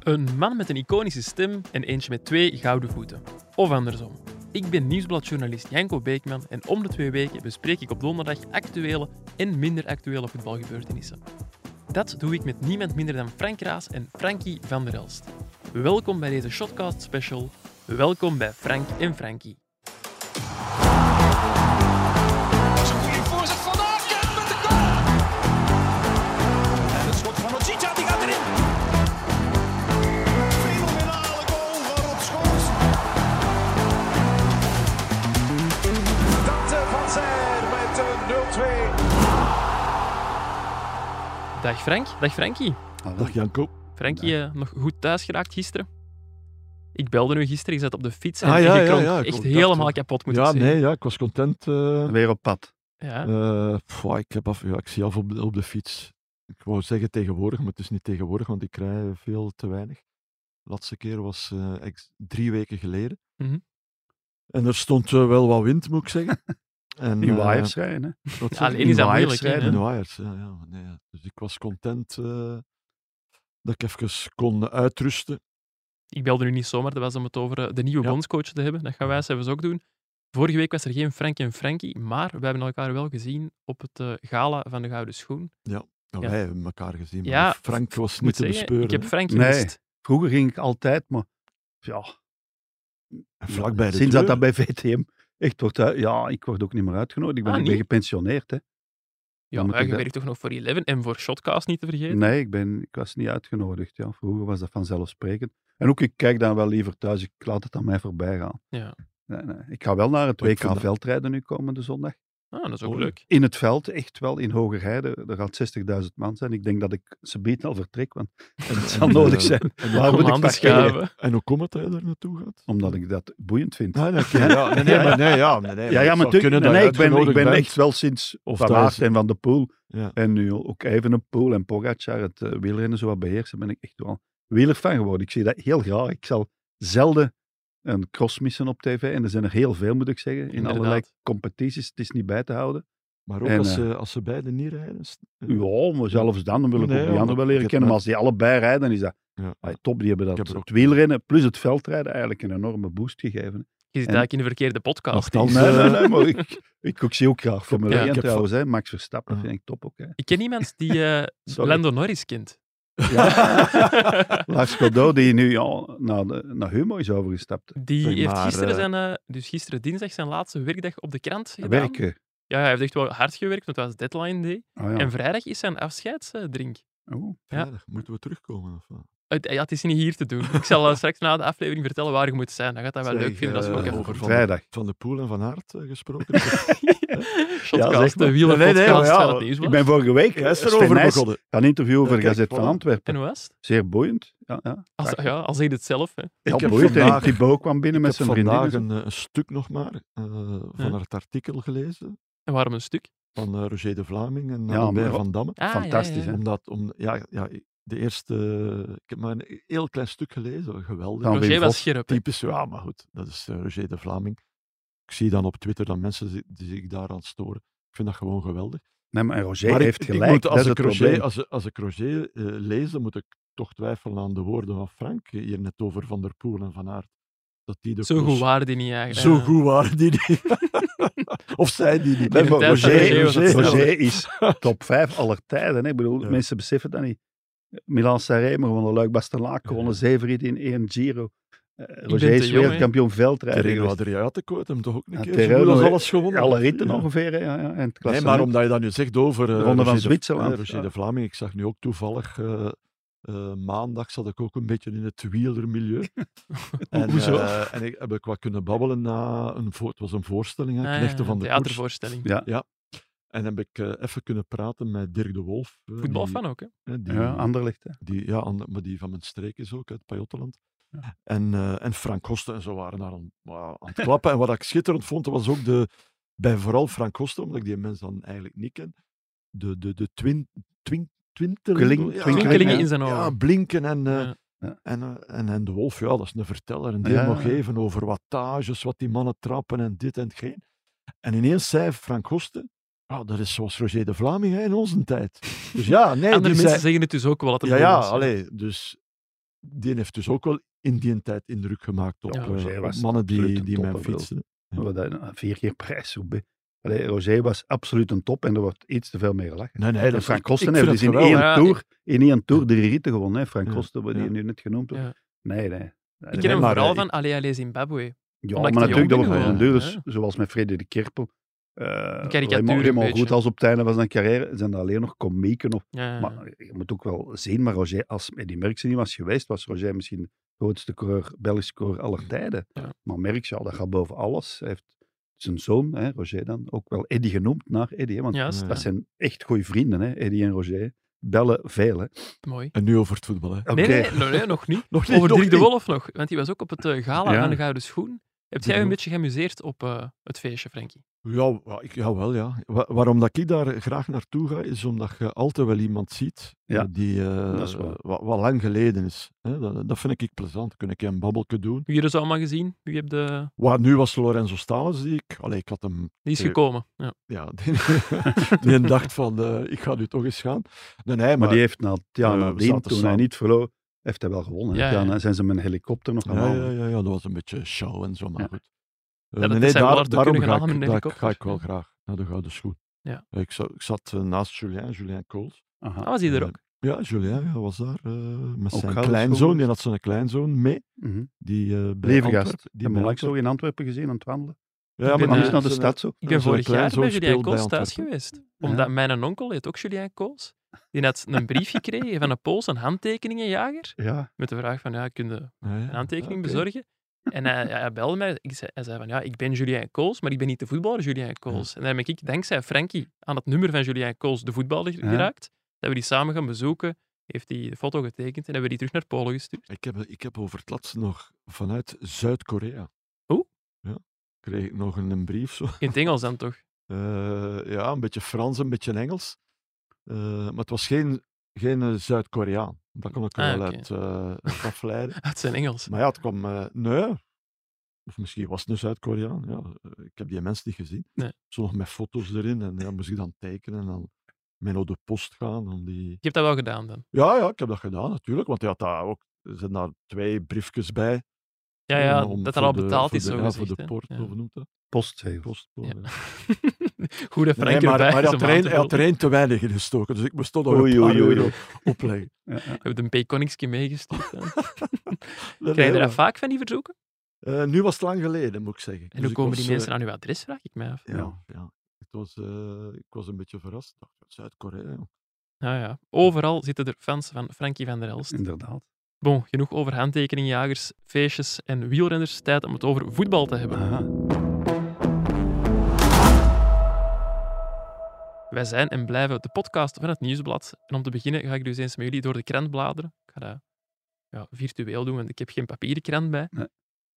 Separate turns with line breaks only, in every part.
Een man met een iconische stem en eentje met twee gouden voeten. Of andersom. Ik ben nieuwsbladjournalist Janko Beekman en om de twee weken bespreek ik op donderdag actuele en minder actuele voetbalgebeurtenissen. Dat doe ik met niemand minder dan Frank Raas en Frankie van der Elst. Welkom bij deze Shotcast special. Welkom bij Frank en Frankie.
Een goede voorzet van Aken met de goal. En het schot van Ojita, die gaat erin. Fenomenale goal van Rob Schoors.
Dante
eh,
van Zijl met een 0-2.
Dag Frank, dag Frankie.
Dag Janko.
Frankie, eh, nog goed thuis geraakt gisteren? Ik belde nu gisteren, je zat op de fiets en
Ah,
je
ja, ja,
gekronk.
ja, ik
echt
dacht,
helemaal
eh,
kapot moet
Ja,
ik zeggen.
nee, ja, ik was content. eh.
Weer op pad.
Ja.
Eh, pff, ik, heb af, ja, ik zie af op de, op de fiets. Ik wou zeggen tegenwoordig, maar het is niet tegenwoordig, want ik rij veel te weinig. De laatste keer was eh, ex- drie weken geleden.
Mhm.
En er stond eh, wel wat wind, moet ik zeggen. En,
In
eh,
wires rijden, hè?
wat zeg je?
alleen is dat moeilijk.
waaiers
hè?
rijden,
In wires, ja. ja, maar nee, ja. dus ik was content eh, dat ik even kon uitrusten.
Ik belde nu niet zomaar, dat was om het over eh, de nieuwe
Ja.
bondscoach te hebben. Dat gaan wij zelfs ook doen. Vorige week was er geen Frank en Frankie, maar we hebben elkaar wel gezien op het eh, gala van de Gouden Schoen.
Nou,
Ja.
Wij hebben elkaar gezien, maar
Ja,
Frank was
Ik
niet
moet
te
zeggen,
bespeuren.
ik heb Frank
Nee.
gemist.
Vroeger ging ik altijd, maar ja,
hè. Vlakbij de
sinds dat
deur.
dat bij VTM echt wordt uit, ja, ik word ook niet meer uitgenodigd. Ik ben,
Ah,
ik ben
niet?
gepensioneerd, hè.
Ja,
Dan moet
maar
ik
je
dat-
werkt toch nog voor Eleven en voor Shotcast niet te vergeten.
Nee, ik, ben, ik was niet uitgenodigd, ja. Vroeger was dat vanzelfsprekend. En ook, ik kijk dan wel liever thuis, ik laat het aan mij voorbij gaan.
Ja.
Nee, nee. Ik ga wel naar het
Ik
WK
vind dat-
veldrijden nu komende zondag.
Ah, dat is ook
Oh.
Oei.
leuk.
In het veld, echt wel, in Hogerheide. Er gaat 60.000 man zijn. Ik denk dat ik ze biedt al vertrek, want het zal
en,
nodig
eh,
zijn. Waar
en
Om
Ah, moet ik
aan te
parkeren?
schuiven.
En hoe komt het dat je daar naartoe gaat?
Omdat ik dat boeiend vind.
Ah, nee, oké, ja, nee, nee, maar nee, ja, nee, nee,
Ja,
maar
ja,
het
maar
zou kunnen
natuurlijk.
dat
Nee,
je
ik ben, ik
uitgenodigd
ben
bent.
echt wel sinds
Of
Van
daar
Aert
is-
en Van de Poel
Ja.
en nu ook even een Poel en Pogacar het eh, wielrennen zo wat beheersen, ben ik echt wel wieler van geworden. Ik zie dat heel graag. Ik zal zelden een cross missen op tv en er zijn er heel veel, moet ik zeggen, in
Inderdaad.
allerlei competities. Het is niet bij te houden.
Maar ook
En,
als,
eh,
ze, als ze beiden niet rijden. is-
Ja, maar zelfs dan, dan wil ik
Nee,
ook
ja,
die anderen
maar
wel
ik
leren kennen.
heb
Maar
maar-
als die allebei rijden, dan is dat
Ja.
ah, top. Die hebben dat
heb er ook-
het wielrennen plus het veldrijden eigenlijk een enorme boost gegeven.
Je zit
En-
eigenlijk in de verkeerde podcast.
Nochtans,
Nee, nee,
eh,
nee, maar ik, ik, ik zie ook graag Formule
Ja,
1
ik heb
trouwens. Hè. Max Verstappen
Ja.
vind ik top ook. Hè.
Ik ken iemand die eh,
Sorry.
Lando Norris kent.
Lars Godot, die nu ja, naar, de, naar Humo is overgestapt.
Die
Zeg
heeft
maar,
gisteren
eh,
zijn, eh, dus gisteren dinsdag zijn laatste werkdag op de krant gedaan.
Werken.
Ja, hij heeft echt wel hard gewerkt, want dat was deadline day.
Ah, ja.
En vrijdag is zijn afscheidsdrink.
Oh.
Vrijdag, moeten we terugkomen? Of, wat?
Het, ja, het is niet hier te doen. Ik zal eh, straks na de aflevering vertellen waar je moet zijn. Dan gaat dat wel
Zeg,
leuk vinden als we
eh,
ook even...
over van, de,
Vrijdag.
van de Poel en Van Aert eh, gesproken. Ik
Shotcast,
eh,
zeg maar.
de wielerpodcast
Nee, nee, maar ja,
eh, van het nieuwsblad.
Ik ben vorige week
Jij is
Sven
erover
Nys
begonnen.
gaan interviewen voor
Ja, kijk,
Gazet van
voilà.
En
Antwerpen.
hoe was het?
Zeer boeiend. Ja, ja.
Als, ja, al zeg je het zelf. Hè.
Ja,
heb
boeiend.
vandaag-
en Thibaut kwam binnen
Ik
met
heb
zijn vriendin. dus
vandaag
en zo.
een, eh, een stuk nog maar eh, van
Ja.
het artikel gelezen.
En waarom een stuk?
Van eh, Roger de Vlaming en
Ja,
ja,
maar-
Van Damme.
Ah,
Fantastisch,
ja, ja.
hè?
Omdat, om, ja, ja, de eerste... Ik heb maar een heel klein stuk gelezen. Geweldig.
Dan
Roger
Wim
was
Vos,
scherp. hè.
typisch, ja, maar goed, dat is eh, Roger de Vlaming. Ik zie dan op Twitter dat mensen zi- die zich daaraan storen. Ik vind dat gewoon geweldig.
Nee, maar Roger
maar ik-
heeft
ik
gelijk.
moet, als,
dat
ik
is het probleem.
Roger, als, als ik Roger eh, lees, dan moet ik toch twijfelen aan de woorden van Frank hier net over Van der Poel en Van Aert. Dat die de
Zo goed
koers-
waren die niet eigenlijk.
Zo
Eh,
goed waren die niet. of zij die niet.
Nee,
In
maar
de tijd van
Roger,
Roger was het
Roger,
sneller.
is top 5 aller tijden. Hè. Ik bedoel,
Ja.
mensen beseffen dat niet. Milan Sanremo gewonnen, Luik Bastenaken gewonnen, Zeverid in één Giro. Eh, Roger
te
is
jong, hè.
wereldkampioen veldrijden.
Terreno
geweest.
Adriatico had hem toch ook een
Ja,
keer zo
Terreno
goed als
heeft
alles gewonnen.
dus Alle ritten
Ja.
ongeveer. Hè. Ja, ja. En het
Nee,
klassement.
maar omdat je dat nu zegt over eh,
De Ronde van
Roger de-
Zwitserland,
eh, Roger
ja.
de Vlaming, ik zag nu ook toevallig eh, eh, maandag zat ik ook een beetje in het wielermilieu. en,
Hoezo?
eh, en ik heb ik wat kunnen babbelen na een voor, het was een voorstelling, hè,
ah, ja,
Knechten van de Koers.
Theatervoorstelling.
Ja.
En heb ik eh, even kunnen praten met Dirk de Wolf. eh,
Voetbalfan ook, hè?
die, eh, die,
Ja, Anderlecht. Hè.
die, ja, ander- maar die van mijn streek is ook, uit Pajottenland. En, eh, en Frank Hosten en zo waren daar aan, aan het klappen. En wat ik schitterend vond, dat was ook de, bij vooral Frank Hosten, omdat ik die mens dan eigenlijk niet ken, de, de, de twin, twin, twinteling-
Kling-
ja,
Twinkelingen
ja.
in zijn ogen.
ja, blinken en, eh,
Ja.
Ja.
En, eh, en, en de wolf, ja, dat is een verteller. En die
Ja.
mag even over wattages, wat die mannen trappen en dit en geen. En ineens zei Frank Hosten, "Ah, dat is zoals Roger de Vlaming hè, in onze tijd. Dus ja, nee,
Andere
die
mensen
zei,
zeggen het dus ook wel dat het
ja,
mooi
ja,
was, hè.
allee, dus die heeft dus ook wel in die tijd indruk gemaakt op
Ja,
eh,
Roger
op
was
mannen
absoluut
die,
een
die mijn
topper, wel.
fietsen. Ja.
Wat dat- een Vier keer prijs. zo be- Allee, Roger was absoluut een top en er wordt iets te veel mee gelachen.
Nee, nee,
En
dat
Frank
ik-
Kosten
ik
heeft
vind
dus
het
in één,
geweldig.
Ja,
tour, in één tour drie ritten gewonnen. Hè. Frank
Ja,
Kosten, wat
ja.
die je nu net genoemd hebt.
Ja.
Nee, nee.
Ik ken hem
maar,
vooral
eh,
van Allee Allee Zimbabwe. Omdat
Ja, maar
ik die
natuurlijk, dat
jongen
wordt voor
wil,
een duur. Dus,
hè.
zoals met Freddy de Kerpel. eh
karikatuur
helemaal-
een
helemaal
beetje.
goed als op het einde van zijn carrière zijn dat alleen nog komieken. Of,
Ja, ja,
Maar je moet ook wel zien, maar Roger, als Eddy Merckx er niet was geweest, was Roger misschien de grootste coureur, Belgische coureur aller tijden.
Ja.
Maar Merckx, ja, dat gaat boven alles. Hij heeft zijn zoon, hè, Roger dan, ook wel Eddy genoemd naar Eddy. Hè, want
Juist,
dat zijn echt goede vrienden, hè, Eddy en Roger. Bellen veel, hè.
mooi.
En nu over het voetbal, hè.
Nee,
Oké.
nee, nee, nee, nog niet.
Nog niet,
Over
nog
Dirk de
niet.
Wolf nog, want die was ook op het eh, gala
Ja.
aan de Gouden Schoen. Hebt jij je
Mhm.
een beetje geamuseerd op eh, het feestje, Frankie?
Ja, wa- ik, jawel, ja. Wa- waarom dat ik daar graag naartoe ga, is omdat je altijd wel iemand ziet
Ja,
eh, die eh,
dat is waar.
wat, wat lang geleden is. Hè? Dat, dat vind ik plezant. Dan kun ik een babbelke doen.
Wie hebben ze allemaal gezien? Wie, heb de...
Waar nu was Lorenzo Stalens die ik... Allee, ik had hem
die is
Eh,
gekomen? Ja.
Ja, die, die dacht van, eh, ik ga nu toch eens gaan. Nee, nee, maar,
Maar, die heeft na het jaar
Eh, we
nadien,
zaten
toen hij
samen.
niet verloor, heeft hij wel gewonnen. hè.
Ja,
Ja,
ja.
dan zijn ze met een helikopter nog
ja,
allemaal.
ja, ja, ja, dat was een beetje show en zo, maar
Ja.
goed.
dat
Eh,
is zijn wel hard
daarom
kunnen
ga
gaan
ik,
met een
daar ga ik
helikopter.
wel graag naar de Gouden Schoen.
Ja.
Eh, Ik, zat- ik zat eh, naast Julien, Julien Kools. Eh,
Aha.
Ah, was die er ook?
Ja, Julien ja, was daar eh, met zijn
Gouden
kleinzoon.
Schoen.
Die had zijn kleinzoon mee.
Mhm.
Die, eh bij
Levengast.
Antwerpen-
Die heb
Die
ik
bij
langs nog
Antwerpen-
in Antwerpen gezien aan het wandelen.
Ja,
ben, eh,
Maar
maar
die
die
is naar de stad zo.
Ik
zijn
ben vorig jaar
kleinzoon
bij Julien
speelt bij
Koos thuis
Antwerpen.
geweest. Omdat mijn onkel heet ook Julien Koos. Die had een brief gekregen van een Pools, een handtekeningenjager.
Ja.
Met de vraag van, ja, kun je
Ja, ja.
een handtekening
Oké.
bezorgen? En hij, ja, hij belde mij. Ik zei, hij zei van, ja, ik ben Julien Koos, maar ik ben niet de voetballer Julien Koos. En dan ben ik, dankzij Frankie, aan het nummer van Julien Koos de voetballer
Ja.
geraakt. Dat we die samen gaan bezoeken. Heeft hij de foto getekend en hebben we die terug naar Polen gestuurd.
Ik heb, ik heb over het laatst nog vanuit Zuid-Korea.
Oh.
Ja. Kreeg ik nog een, een brief zo.
In het Engels dan toch?
Eh, ja, een beetje Frans, een beetje Engels. Eh, maar het was geen, geen eh, Zuid-Koreaan. Dat kon ik er
Ah,
wel
oké.
uit eh, uit afleiden.
Het zijn Engels.
maar ja, het kwam... eh, nee. Of misschien was het een Zuid-Koreaan. Ja, eh, ik heb die mens niet gezien.
Nee.
Zo nog met foto's erin. En dan moest ik dan tekenen. En dan mee naar de post gaan. Om die...
Je hebt dat wel gedaan dan?
Ja, ja, ik heb dat gedaan natuurlijk. Want hij had daar ook... Er zijn daar twee briefjes bij.
Ja, ja,
om- om
dat dat al
voor de-
betaald
voor
is,
de-
zo
ja, voor de
gezegd, hè.
poort,
Ja.
hoe noemt dat?
Postzegel.
Postpoort,
Ja.
ja.
Hoe dat
Nee,
Frank
maar,
erbij
maar hij,
is
had
om
er
aan
een,
te
hij had er
vullen.
één te weinig in gestoken, dus ik moest toch nog
Oei,
een paar
oei, oei,
euro
oei.
opleggen.
Ja, ja.
Je hebt een P-Koningske meegestuurd. dan.
Nee,
Krijg je
nee,
daar vaak van die verzoeken?
maar, eh, nu was het lang geleden, moet ik zeggen.
En
Dus
hoe
ik
komen
was,
die
eh,
mensen aan uw adres, vraag ik mij af.
ja, ja. Het was, eh, ik was een beetje verrast. Ik dacht, Zuid-Korea. joh.
Nou ja, overal zitten er fans van Frankie van der Elst.
Inderdaad.
Bon, genoeg over handtekeningjagers, feestjes en wielrenners. Tijd om het over voetbal te hebben.
Aha.
Wij zijn en blijven de podcast van het Nieuwsblad. En om te beginnen ga ik dus eens met jullie door de krant bladeren. Ik ga dat ja, virtueel doen, want ik heb geen papieren krant bij.
Nee. Mm.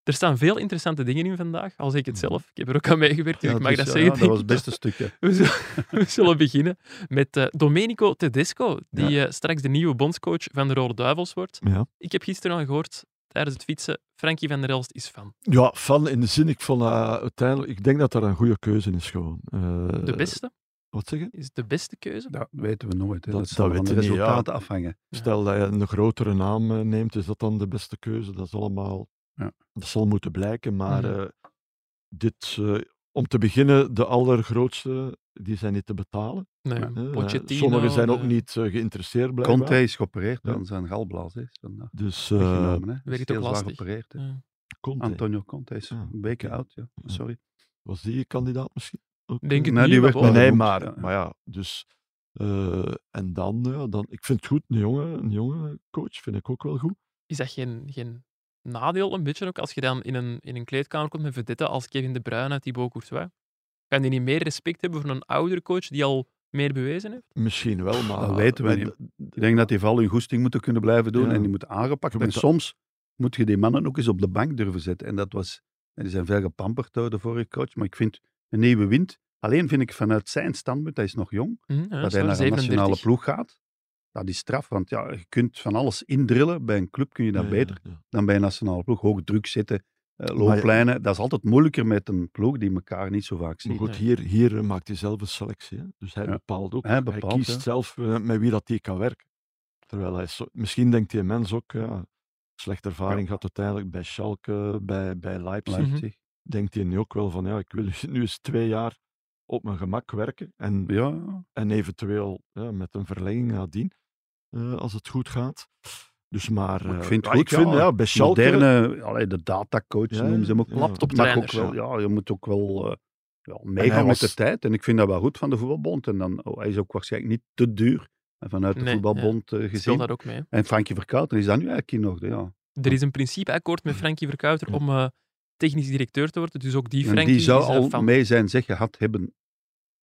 Er staan veel interessante dingen in vandaag, al zeg ik het
Mhm.
zelf. Ik heb er ook aan meegewerkt, dus
Ja,
ik mag
dus,
dat
ja,
zeggen.
dat
denk
was
ik.
het beste stukje.
We zullen, we zullen beginnen met eh, Domenico Tedesco, die eh, straks de nieuwe bondscoach van de Rode Duivels wordt.
Ja.
Ik heb gisteren al gehoord tijdens het fietsen, Frankie van der Elst is fan.
ja, fan in de zin, ik vond eh, uiteindelijk, ik denk dat daar een goede keuze is gewoon. Eh,
De beste?
Wat zeg je?
Is de beste keuze?
Dat weten we nooit. Hè.
Dat-
Dat, zal
dat
van de
weten we niet, ja.
resultaten afhangen.
Ja.
Stel dat je een grotere naam eh, neemt, is dat dan de beste keuze? Dat is allemaal...
Ja.
Dat zal moeten blijken, maar
Mhm.
eh, dit... eh, om te beginnen, de allergrootste, die zijn niet te betalen.
Nee,
hè. Eh,
Pochettino.
Sommigen zijn ook
eh,
niet eh, geïnteresseerd, blijkbaar.
Conte is geopereerd
Ja.
aan zijn galblaas. Is vandaag
Dus eh,
weggenomen, hè.
werkt
Is
ook
heel zwaar
lastig.
geopereerd. hè.
eh,
Conte,
Antonio Conte is
Ah,
een week
oké.
oud. Ja.
Ja.
Sorry.
was die je kandidaat misschien? Ook,
Denk
eh?
het
Nee,
niet,
die
maar
werd
bon.
wel-
nee,
genoemd,
maar,
ja.
maar ja, dus... eh, en dan, ja, dan, ik vind het goed, een jonge, een jonge coach vind ik ook wel goed.
Is dat geen, geen nadeel een beetje ook, als je dan in een, in een kleedkamer komt met vedetten als Kevin De Bruyne, Thibaut Courtois? Gaan die niet meer respect hebben voor een oudere coach die al meer bewezen heeft?
Misschien wel, maar...
weten we
maar
niet.
d-
Ik denk dat die vooral hun goesting moeten kunnen blijven doen
Ja.
en die moeten aangepakt
Je
worden. En
moet
soms moet je die mannen ook eens op de bank durven zetten. En dat was, en die zijn veel gepamperd door de vorige coach, maar ik vind een nieuwe wind. Alleen vind ik vanuit zijn standpunt, hij is nog jong,
Hm, ja,
dat
zo,
hij naar een
37.
nationale ploeg gaat. Dat is straf, want ja, je kunt van alles indrillen. Bij een club kun je dat
ja, ja,
beter
ja.
dan bij een nationale ploeg. Hoog druk zitten, eh, looplijnen. Dat is altijd moeilijker met een ploeg die elkaar niet zo vaak
Maar
ziet.
goed,
Nee.
hier, hier eh, maakt hij zelf een selectie. Hè? Dus hij
Ja.
bepaalt ook.
Hij bepaalt,
kiest
ja.
zelf eh, met wie dat hij kan werken. Terwijl hij... zo- Misschien denkt die mens ook, ja, Slechte ervaring gehad uiteindelijk bij Schalke, bij, bij Leipzig.
Leipzig.
Denkt hij nu ook wel van, ja, ik wil nu eens twee jaar op mijn gemak werken. En
Ja,
en eventueel ja, met een verlenging nadien, eh, als het goed gaat. Dus maar...
Maar ik
eh,
vind het
ja,
goed,
ik vind,
ja,
ja, bij Schalke...
moderne, allee, de datacoach
Ja,
noemen ze hem ook.
ja.
Laptop
Laptoptrainer.
ook wel, ja, je moet ook wel eh, ja,
En hij
meegaan met
was-
de tijd. En ik vind dat wel goed van de voetbalbond. En dan, oh, hij is ook waarschijnlijk niet te duur En vanuit de
Nee,
voetbalbond eh,
Ik speel
gezien.
daar ook mee.
En Frankie Verkouten is dat nu eigenlijk in orde, ja.
Er is een principeakkoord met Frankie Verkouter om eh, technisch directeur te worden. Dus ook die
en
Frankie
die zou
is eh,
al
van...
mee zijn zeg gehad hebben.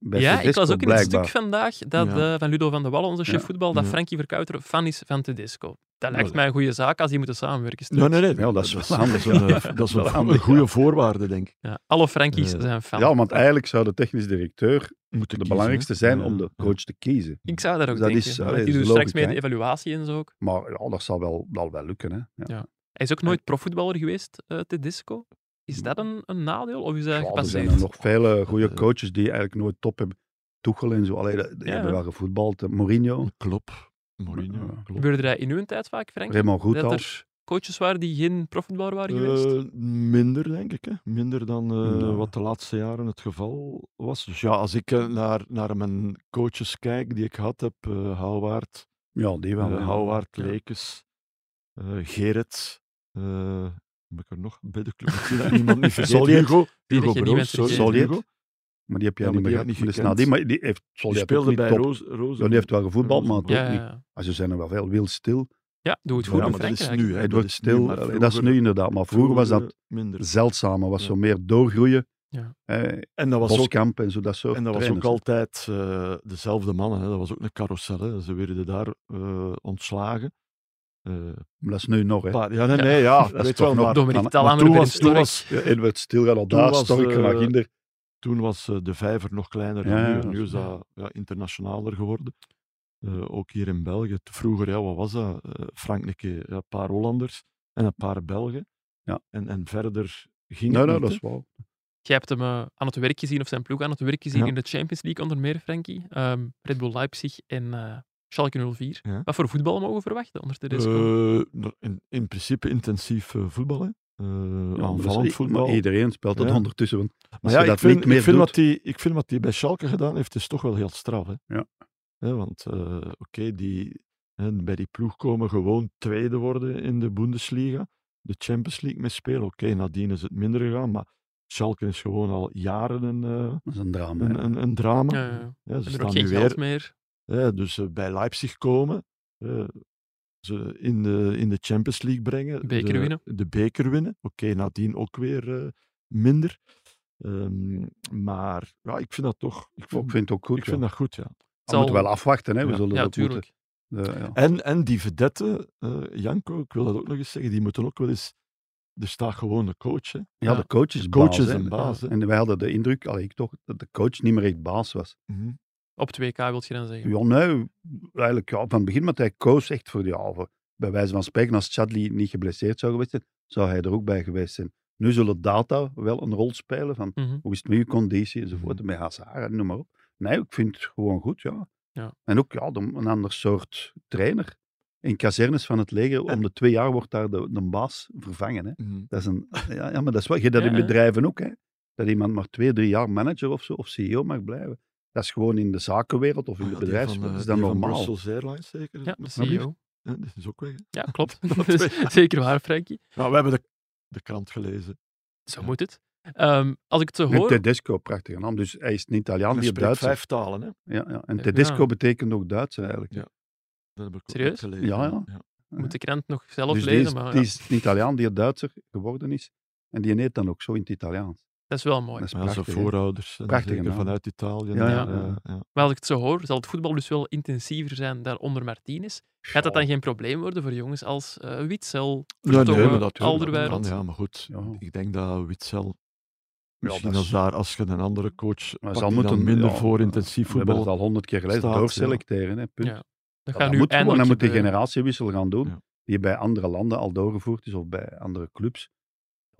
Bij
Ja, ik
Tedesco,
las ook in het
blijkbaar.
stuk vandaag dat,
Ja.
eh, van Ludo van de Wallen, onze chef
Ja.
voetbal, dat
Ja.
Frankie Verkouter fan is van Tedesco. Dat lijkt
dat-
mij een goede zaak als die moeten samenwerken.
Nee, nee, nee.
Ja, dat is wel
dat
handig.
is een,
ja.
eh, dat is
Wel
een,
handig,
een goede
ja.
voorwaarde, denk ik.
Ja, alle Frankies
Eh,
zijn fan.
Ja, want eigenlijk zou de technisch directeur
Moeten
de
kiezen, hè.
belangrijkste zijn
Ja,
om de
ja.
coach te kiezen.
ik zou daar ook
dat
denken.
is-
want
allee,
die doen
dat is
straks
logisch,
mee de evaluatie en zo ook.
Maar ja, dat zal wel, dat wel lukken. Hè? Ja.
Ja. Hij is ook nooit profvoetballer geweest, eh Tedesco. Is dat een, een nadeel of is dat
Ja, er zijn
gepasseerd?
er nog vele goede
Eh,
coaches die eigenlijk nooit top hebben. Tuchel en zo, alleen die
Ja.
hebben wel gevoetbald. Eh, Mourinho,
Klopt. Mourinho,
Ja.
klopt.
Gebeurde dat in uw tijd vaak, Frank?
Raymond
Dat
Goethals.
er coaches waren die geen profvoetballer waren geweest?
Eh, minder, denk ik. Hè. Minder dan eh,
Ja.
wat de laatste jaren het geval was. Dus ja, als ik eh, naar, naar mijn coaches kijk die ik had heb, eh Houwaard,
Ja, die wel.
eh,
ja.
Houwaard,
Ja.
Lekes, eh Gerrit, eh, heb ik er nog bij de club? Ik zie dat niemand niet vergeet.
Solliet.
Hugo,
Die
Hugo
dat je niet
Broos,
bent
sorry,
vergeten.
Hugo.
Maar die heb jij
Ja,
niet
maar
meer
die
gehad.
heb ik
Maar
niet
dus nadien, maar
gekend.
Oh, die heeft
Die
Solliet ook
speelde
niet
bij
top.
Roos,
Ja,
Rozen.
die heeft wel gevoetbald, maar het
ja,
ook
ja,
niet.
ja.
Ah, zo zijn er wel veel. Wil Stil,
ja, doe het
Ja,
goed
maar
in
dat is
Frankrijk.
nu, hè.
Edward
is nu,
Stil.
maar
allee, dat is nu
vroeger-
inderdaad. Maar vroeger was dat
eh, minder.
zeldzamer. Was
Ja.
zo meer doorgroeien.
Ja.
Eh,
En dat was ook
Boskamp en zo, dat soort
En dat was ook
trainers.
altijd eh, dezelfde mannen. Hè. Dat was ook een carousel. Hè. Ze werden daar eh, ontslagen. Eh,
Maar dat is nu nog, hè.
paar- ja, nee, nee, ja.
Dat is
weet
toch
wel,
nog
maar
Dominic
maar
Talam en
toen
Ruben
was- toen
Stork.
was,
Ja, Edward Stil gaat al
Toen
daar,
was,
Stork
eh,
gaat ginder.
toen was eh, de vijver nog kleiner dan
Ja,
nu.
ja,
En Nu
dat
is dat ja, internationaler geworden. Eh, ook hier in België. Vroeger, ja, wat was dat? Eh, Frankrijk, eh, ja, een paar Hollanders en een paar Belgen.
Ja.
En, en verder ging
Nee,
het
nee, dat
niet, hè.
is wel.
Jij hebt hem eh, aan het werk gezien, of zijn ploeg aan het werk gezien
Ja.
in de Champions League onder meer, Frankie. Ehm, Red Bull Leipzig en eh Schalke 04.
Ja.
Wat voor voetbal mogen we verwachten onder Tedesco?
Eh, nou, in, in principe intensief eh, voetbal. Hè.
Ja,
Eh,
maar dat is-
aanvallend voetbal.
Maar iedereen speelt dat
Ja.
ondertussen. Want
Maar
als je
ja, ik
dat
vind,
niet meer
ik, vind
doet-
wat die, ik vind wat hij bij Schalke gedaan heeft, is toch wel heel straf. Hè?
Ja.
Hè, want eh, oké, die hè, bij die ploeg komen gewoon tweede worden in de Bundesliga. De Champions League mee spelen. Oké, nadien is het minder gegaan, maar Schalke is gewoon al jaren een, eh,
dat is een drama. hè.
een, een, een drama.
Ja, ja, ja.
Ja, ze
Hebben er ook
staan
geen
nu
geld
weer
meer?
hè, dus eh, bij Leipzig komen, eh, ze in de, in de Champions League brengen.
Beker
de,
winnen.
De beker winnen. Oké, nadien ook weer eh, minder. Ehm, maar ja, ik vind dat toch... Ik
Ik
vind,
vind het ook Hm. goed.
ik vind
ja.
dat goed, ja.
We moeten wel afwachten. Hè. We
Ja.
zullen
Ja,
dat moeten.
tuurlijk.
De- ja.
En, en die vedette, eh, Janko, ik wil dat ook nog eens zeggen, die moeten ook wel eens... Er staat gewoon een coach, hè.
ja,
Ja.
de coach is
De
baas.
coach is
hè.
een baas, hè.
En wij hadden de indruk, allee, ik toch, dat de coach niet meer echt baas was.
Op 2K wil je dan zeggen.
Ja, nee, eigenlijk ja, van het begin, want hij koos echt voor die halve. Bij wijze van spreken, als Chadli niet geblesseerd zou geweest zijn, zou hij er ook bij geweest zijn. Nu zullen data wel een rol spelen van
Mhm.
hoe is het met je conditie enzovoort,
Mhm.
met Hazard en noem maar op. Nee, ik vind het gewoon goed, ja.
Ja.
En ook ja, de- een ander soort trainer. In kazernes van het leger, om de twee jaar wordt daar de, de baas vervangen. Hè.
Mhm.
Dat is een, ja, ja, maar dat is wel. Je hebt dat
Ja,
in
ja.
bedrijven ook, hè? Dat iemand maar twee, drie jaar manager of zo, of CEO mag blijven. Dat is gewoon in de zakenwereld of in
Ja,
de
die
bedrijfswereld.
eh,
is dat
die van
normaal.
Brussels Airlines zeker?
Ja, de
Alsjeblieft.
CEO.
Ja, dat is ook weg. hè.
Ja, klopt. Dat is Zeker waar, Frankie.
Nou, we hebben de, de krant gelezen.
Zo moet het. Ehm, als ik het zo
En
hoor...
Tedesco, prachtige naam. Dus hij is een Italiaan,
Hij
die
spreekt
Duits.
vijf talen, hè.
Ja, ja. En
Ja.
Tedesco betekent ook Duits eigenlijk.
Ja. Dat heb ik ook net
Serieus?
gelezen.
Ja, ja.
Moet de krant nog zelf
Dus die
lezen,
is,
maar
die
ja,
is een Italiaan die Duitser geworden is. En die neemt dan ook zo in het Italiaans.
dat is wel
Dat
mooi.
is
Maar ja, zijn
prachtig. hè.
voorouders. zijn
Prachtige
zeker
naam.
vanuit Italië.
Ja,
ja.
eh,
Ja.
ja.
Maar als ik het zo hoor, zal het voetbal dus wel intensiever zijn daar onder Martinez. Gaat dat dan geen probleem worden voor jongens als eh Witzel, Vertongen,
nee, maar dat-
Alderweireld?
Ja, maar goed.
Ja.
Ik denk dat Witzel... Misschien
dat
als,
is-
daar, als je een andere coach
Maar
pakt,
zal
die
moeten-
dan minder
ja,
voor intensief
We hebben het
voetbal...
al honderd keer gelezen.
staat, ja.
doorselecteren, hè, punt.
Ja. Dat
Ja,
gaat
dat
nu
moet gewoon,
eindelijk
dan moet die
gebeuren.
generatiewissel gaan doen,
Ja.
die bij andere landen al doorgevoerd is of bij andere clubs.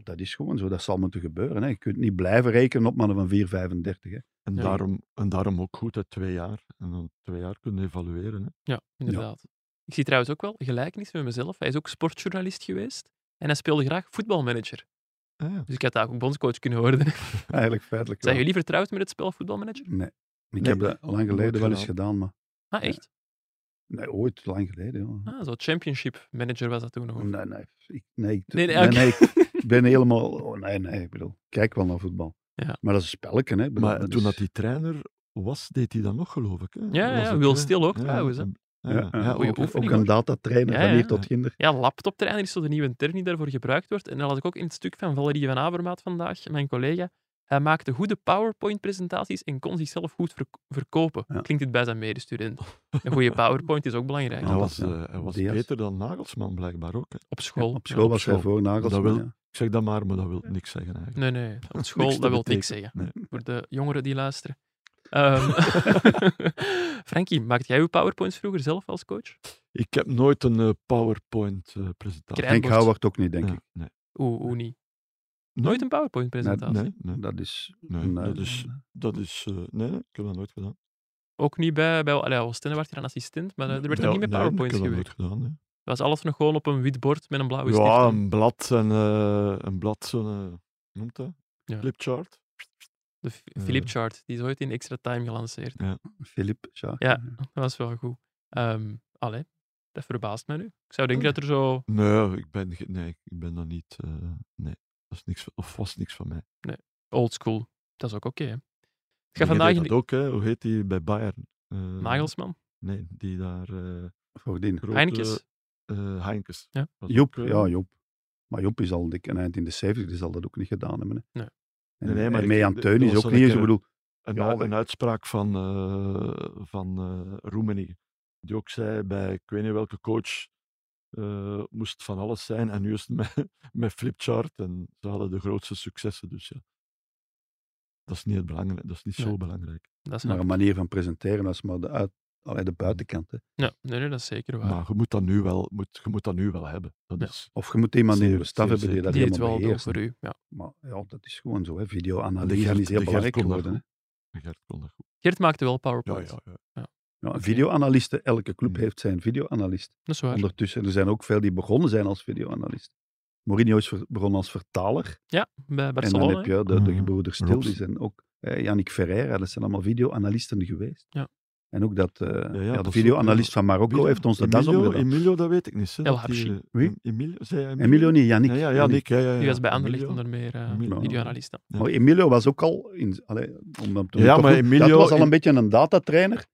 Dat is gewoon zo, dat zal moeten gebeuren. Hè. Je kunt niet blijven rekenen op mannen van 4,35. hè.
En,
Ja.
daarom, en daarom ook goed, uit twee jaar. En dan twee jaar kunnen evalueren. Hè.
Ja, inderdaad. Ik zie trouwens ook wel gelijkenissen met mezelf. Hij is ook sportjournalist geweest en hij speelde graag voetbalmanager.
Ah, ja.
Dus ik had daar ook bondscoach kunnen worden.
Eigenlijk feitelijk
Zijn
wel.
jullie vertrouwd met het spel voetbalmanager?
Nee. Ik
Nee,
heb dat lang
nooit
geleden wel eens gedaan, maar...
Ah, echt?
Nee, ooit, lang geleden. joh. Oh,
Ah, zo championship manager was dat toen nog. of?
Nee, nee. Ik, nee, ik,
Nee,
nee,
nee,
nee,
oké.
ik- ik ben helemaal... Oh, nee, nee. Ik bedoel, ik kijk wel naar voetbal.
Ja.
Maar dat is een spelletje, hè. ik bedoel,
Maar
dat
toen
is-
dat die trainer was, deed hij dat nog, geloof ik. Hè?
Ja,
Was
ja,
het,
Wil
hè?
Stil ook trouwens, hè.
en- ah, Ja,
Ja,
ja, oh,
ja.
Goeie
ook, hè.
oefening,
Ook
Ook
een datatrainer
Ja,
van hier
ja.
tot kinder.
Ja, laptoptrainer is zo de nieuwe term die daarvoor gebruikt wordt. En dan had ik ook in het stuk van Valerie van Avermaat vandaag, mijn collega. Hij maakte goede PowerPoint-presentaties en kon zichzelf goed verk- verkopen.
Ja.
Klinkt het bij zijn medestudent. Een goede PowerPoint is ook belangrijk.
Hij
Ja.
was,
Ja.
eh, hij was
Diaz.
beter dan Nagelsman, blijkbaar ook. Hè.
Op school.
Op school was hij
school.
voor nagels.
Dat wil-
maar ja.
Ik zeg dat maar, maar dat wil niks zeggen
Nee,
eigenlijk.
nee. Op
Niks
school,
te
dat wil niks zeggen.
betekenen. Nee.
Voor de jongeren die luisteren. Ehm, Frankie, maakt jij uw PowerPoints vroeger zelf als coach?
Ik heb nooit een eh, PowerPoint-presentatie.
Krijg-
Henk
Eindborst.
Houwart ook niet, denk ik.
Nee.
Oeh, oeh niet. Nooit een PowerPoint-presentatie?
Nee, nee,
Dat is... eh,
nee, dat is... Dat is eh, nee, nee, ik heb dat nooit gedaan.
Ook niet bij... bij allee, Oostende werd hier een assistent, maar eh, er werd
Ja,
nog niet met
nee,
PowerPoints
Ik heb dat
gewerkt.
nooit gedaan, nee.
Het was alles nog gewoon op een wit bord met een blauwe stift.
Ja, een blad en eh, een blad, zo'n... eh, noemt dat?
Ja.
Flipchart.
De F-
Eh.
Philip Chart, die is ooit in Extra Time gelanceerd.
Filip, ja.
Ja. Dat was wel goed. Ehm allee, dat verbaast me nu. Ik zou denken dat er zo...
Nee, ik ben, ge- nee, ik ben dat niet... eh, nee, dat is niks, van- of was niks van mij.
Old school. Dat is ook oké, hè. Ik ga
Maar jij
vandaag...
deed
in-
dat ook, hè. Hoe heet die bij Bayern? Eh,
Nagelsman?
Nee, die daar... eh
Voordien.
grote,
Heinkes?
eh, Heinkes.
Ja.
Was
Joep,
ook, eh,
ja, Joep. Maar Joep is al dik en eind in de 70, die zal dat ook niet gedaan hebben. Hè.
Nee.
En,
Nee, maar
en
ik-
Mejan
dat
Teun
was
is
wel
ook
een
niet eens, ik
keer-
bedoel,
Een,
Ja,
u-
dat-
een uitspraak van, eh van eh, Roemenigge. Die ook zei bij ik weet niet welke coach eh, moest van alles zijn. En nu is het met, met Flipchart. En ze hadden de grootste successen. Dus ja, dat is niet, het belangrijk, dat is niet
Nee.
zo belangrijk.
Dat snap
maar
ik.
een manier van presenteren als maar de, uit, allee, de buitenkant. Hè.
Ja, nee, nee, dat is zeker waar.
Maar je moet dat nu wel, moet, je moet dat nu wel hebben. Dat
Ja.
is,
Of je moet iemand in
Zeer-
je staf
zeer
hebben die
zeker.
dat
die het
helemaal
wel doet
beheerst.
voor u. Ja.
Maar ja, dat is gewoon zo. hè.
de
Video-analyse is
Gert-
heel
de Gert
belangrijk
kon dat
geworden. hè.
Gert kon dat goed.
Geert maakte wel
Ja,
PowerPoint.
ja, ja.
Ja, een video-analyste, elke club
Hmm.
heeft zijn video-analyst.
Dat is waar.
Ondertussen, er zijn ook veel die begonnen zijn als video-analyst. Mourinho is ver- begonnen als vertaler.
Ja, bij
En dan
Barcelona.
heb je de, de
Mhm.
gebroeders Stil,
Robs.
die zijn ook eh, Yannick Ferreira, dat zijn allemaal videoanalisten geweest.
Ja.
En ook dat, eh, ja,
dat
de
is
videoanalist
ook- eh,
van Marokko
Emilio-
heeft ons de das
Emilio-
omgedaan.
Emilio, dat weet ik niet. hè,
El
dat die,
Habshi.
eh,
Wie?
Emilio, zei hij
Emilio niet, Yannick.
Ja, ja, ja, Nick, ja, ja, ja.
Die was bij Anderlecht
Emilio.
onder meer eh
Emilio.
videoanalist. dan.
Maar Emilio was ook al, in, allee, om hem te
Ja,
toch
maar
goed-
Emilio
dat was al
in-
een beetje een datatrainer.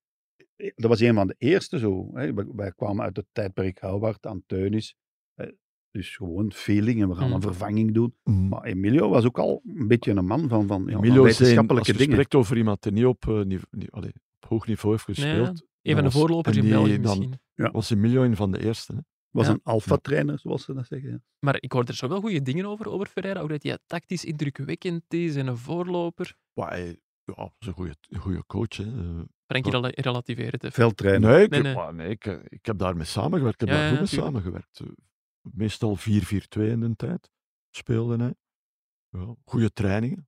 Eh, Dat was een van de eerste zo. Hè. Wij, wij kwamen uit het tijdperk Howard, Anteunis. Eh, Dus gewoon feeling en we gaan
Mhm.
een vervanging doen.
Mm.
Maar Emilio was ook al een beetje een man van, van, ja, van
Emilio zijn, als
wetenschappelijke
je
dingen.
spreekt over iemand die niet op, eh, nive- ni- allee, op hoog niveau heeft
Nee,
gespeeld,
Een van de
was-
voorlopers
en
in
die
België
dan-
misschien.
was Emilio een van de eerste. Hè?
Was
Ja.
een alfa-trainer, zoals ze dat zeggen. ja.
Maar ik hoor er zo wel goede dingen over, over Ferreira. Ook dat hij tactisch indrukwekkend is en een voorloper.
Maar hij- ja, dat is een goede, goede coach. Hè. Eh,
Frankie rela- relativeert het even.
Veldtrainer.
Nee, ik,
nee,
heb-
nee.
maar nee, ik, eh, ik heb daarmee samengewerkt. Ik heb
Ja,
daar
ja,
goed mee
tuurlijk.
samengewerkt. Eh, Meestal 4-4-2 in de tijd speelde hij. Ja, goede trainingen.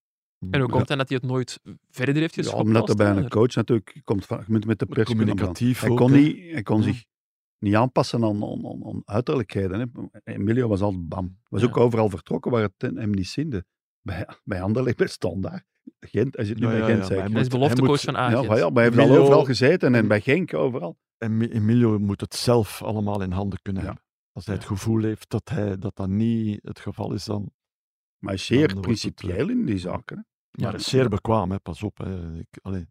En hoe komt het dan dat hij het nooit verder heeft
Ja,
geschopt?
omdat
als
er bij een
trainer?
coach natuurlijk komt van, je moet met de
Maar
pers kunnen omgaan.
communicatief
Hij
ook,
kon,
hè.
niet, hij kon
Ja.
zich niet aanpassen aan, aan, aan, aan uiterlijkheden. Hè. Emilio was altijd bam. Was
Ja.
ook overal vertrokken waar het hem niet zinde. Bij, bij Anderlecht, bij Standaard. Gent, hij zit nu
Ja,
bij
ja,
Gent,
ja,
zei
maar
ik.
Hij is
moet-
beloftecoach
moet-
van
Ja,
Ajax.
maar ja, maar hij heeft al
Emilio-
overal gezeten en bij Genk overal.
En Mi- Emilio moet het zelf allemaal in handen kunnen
Ja.
hebben. Als hij het gevoel heeft dat hij, dat, dat niet het geval is, dan...
Maar hij is
Dan
zeer
wordt het, eh,
principieel in die zaken. hè.
Maar
Ja.
zeer bekwaam, hè. pas op. Hè. Ik, allee,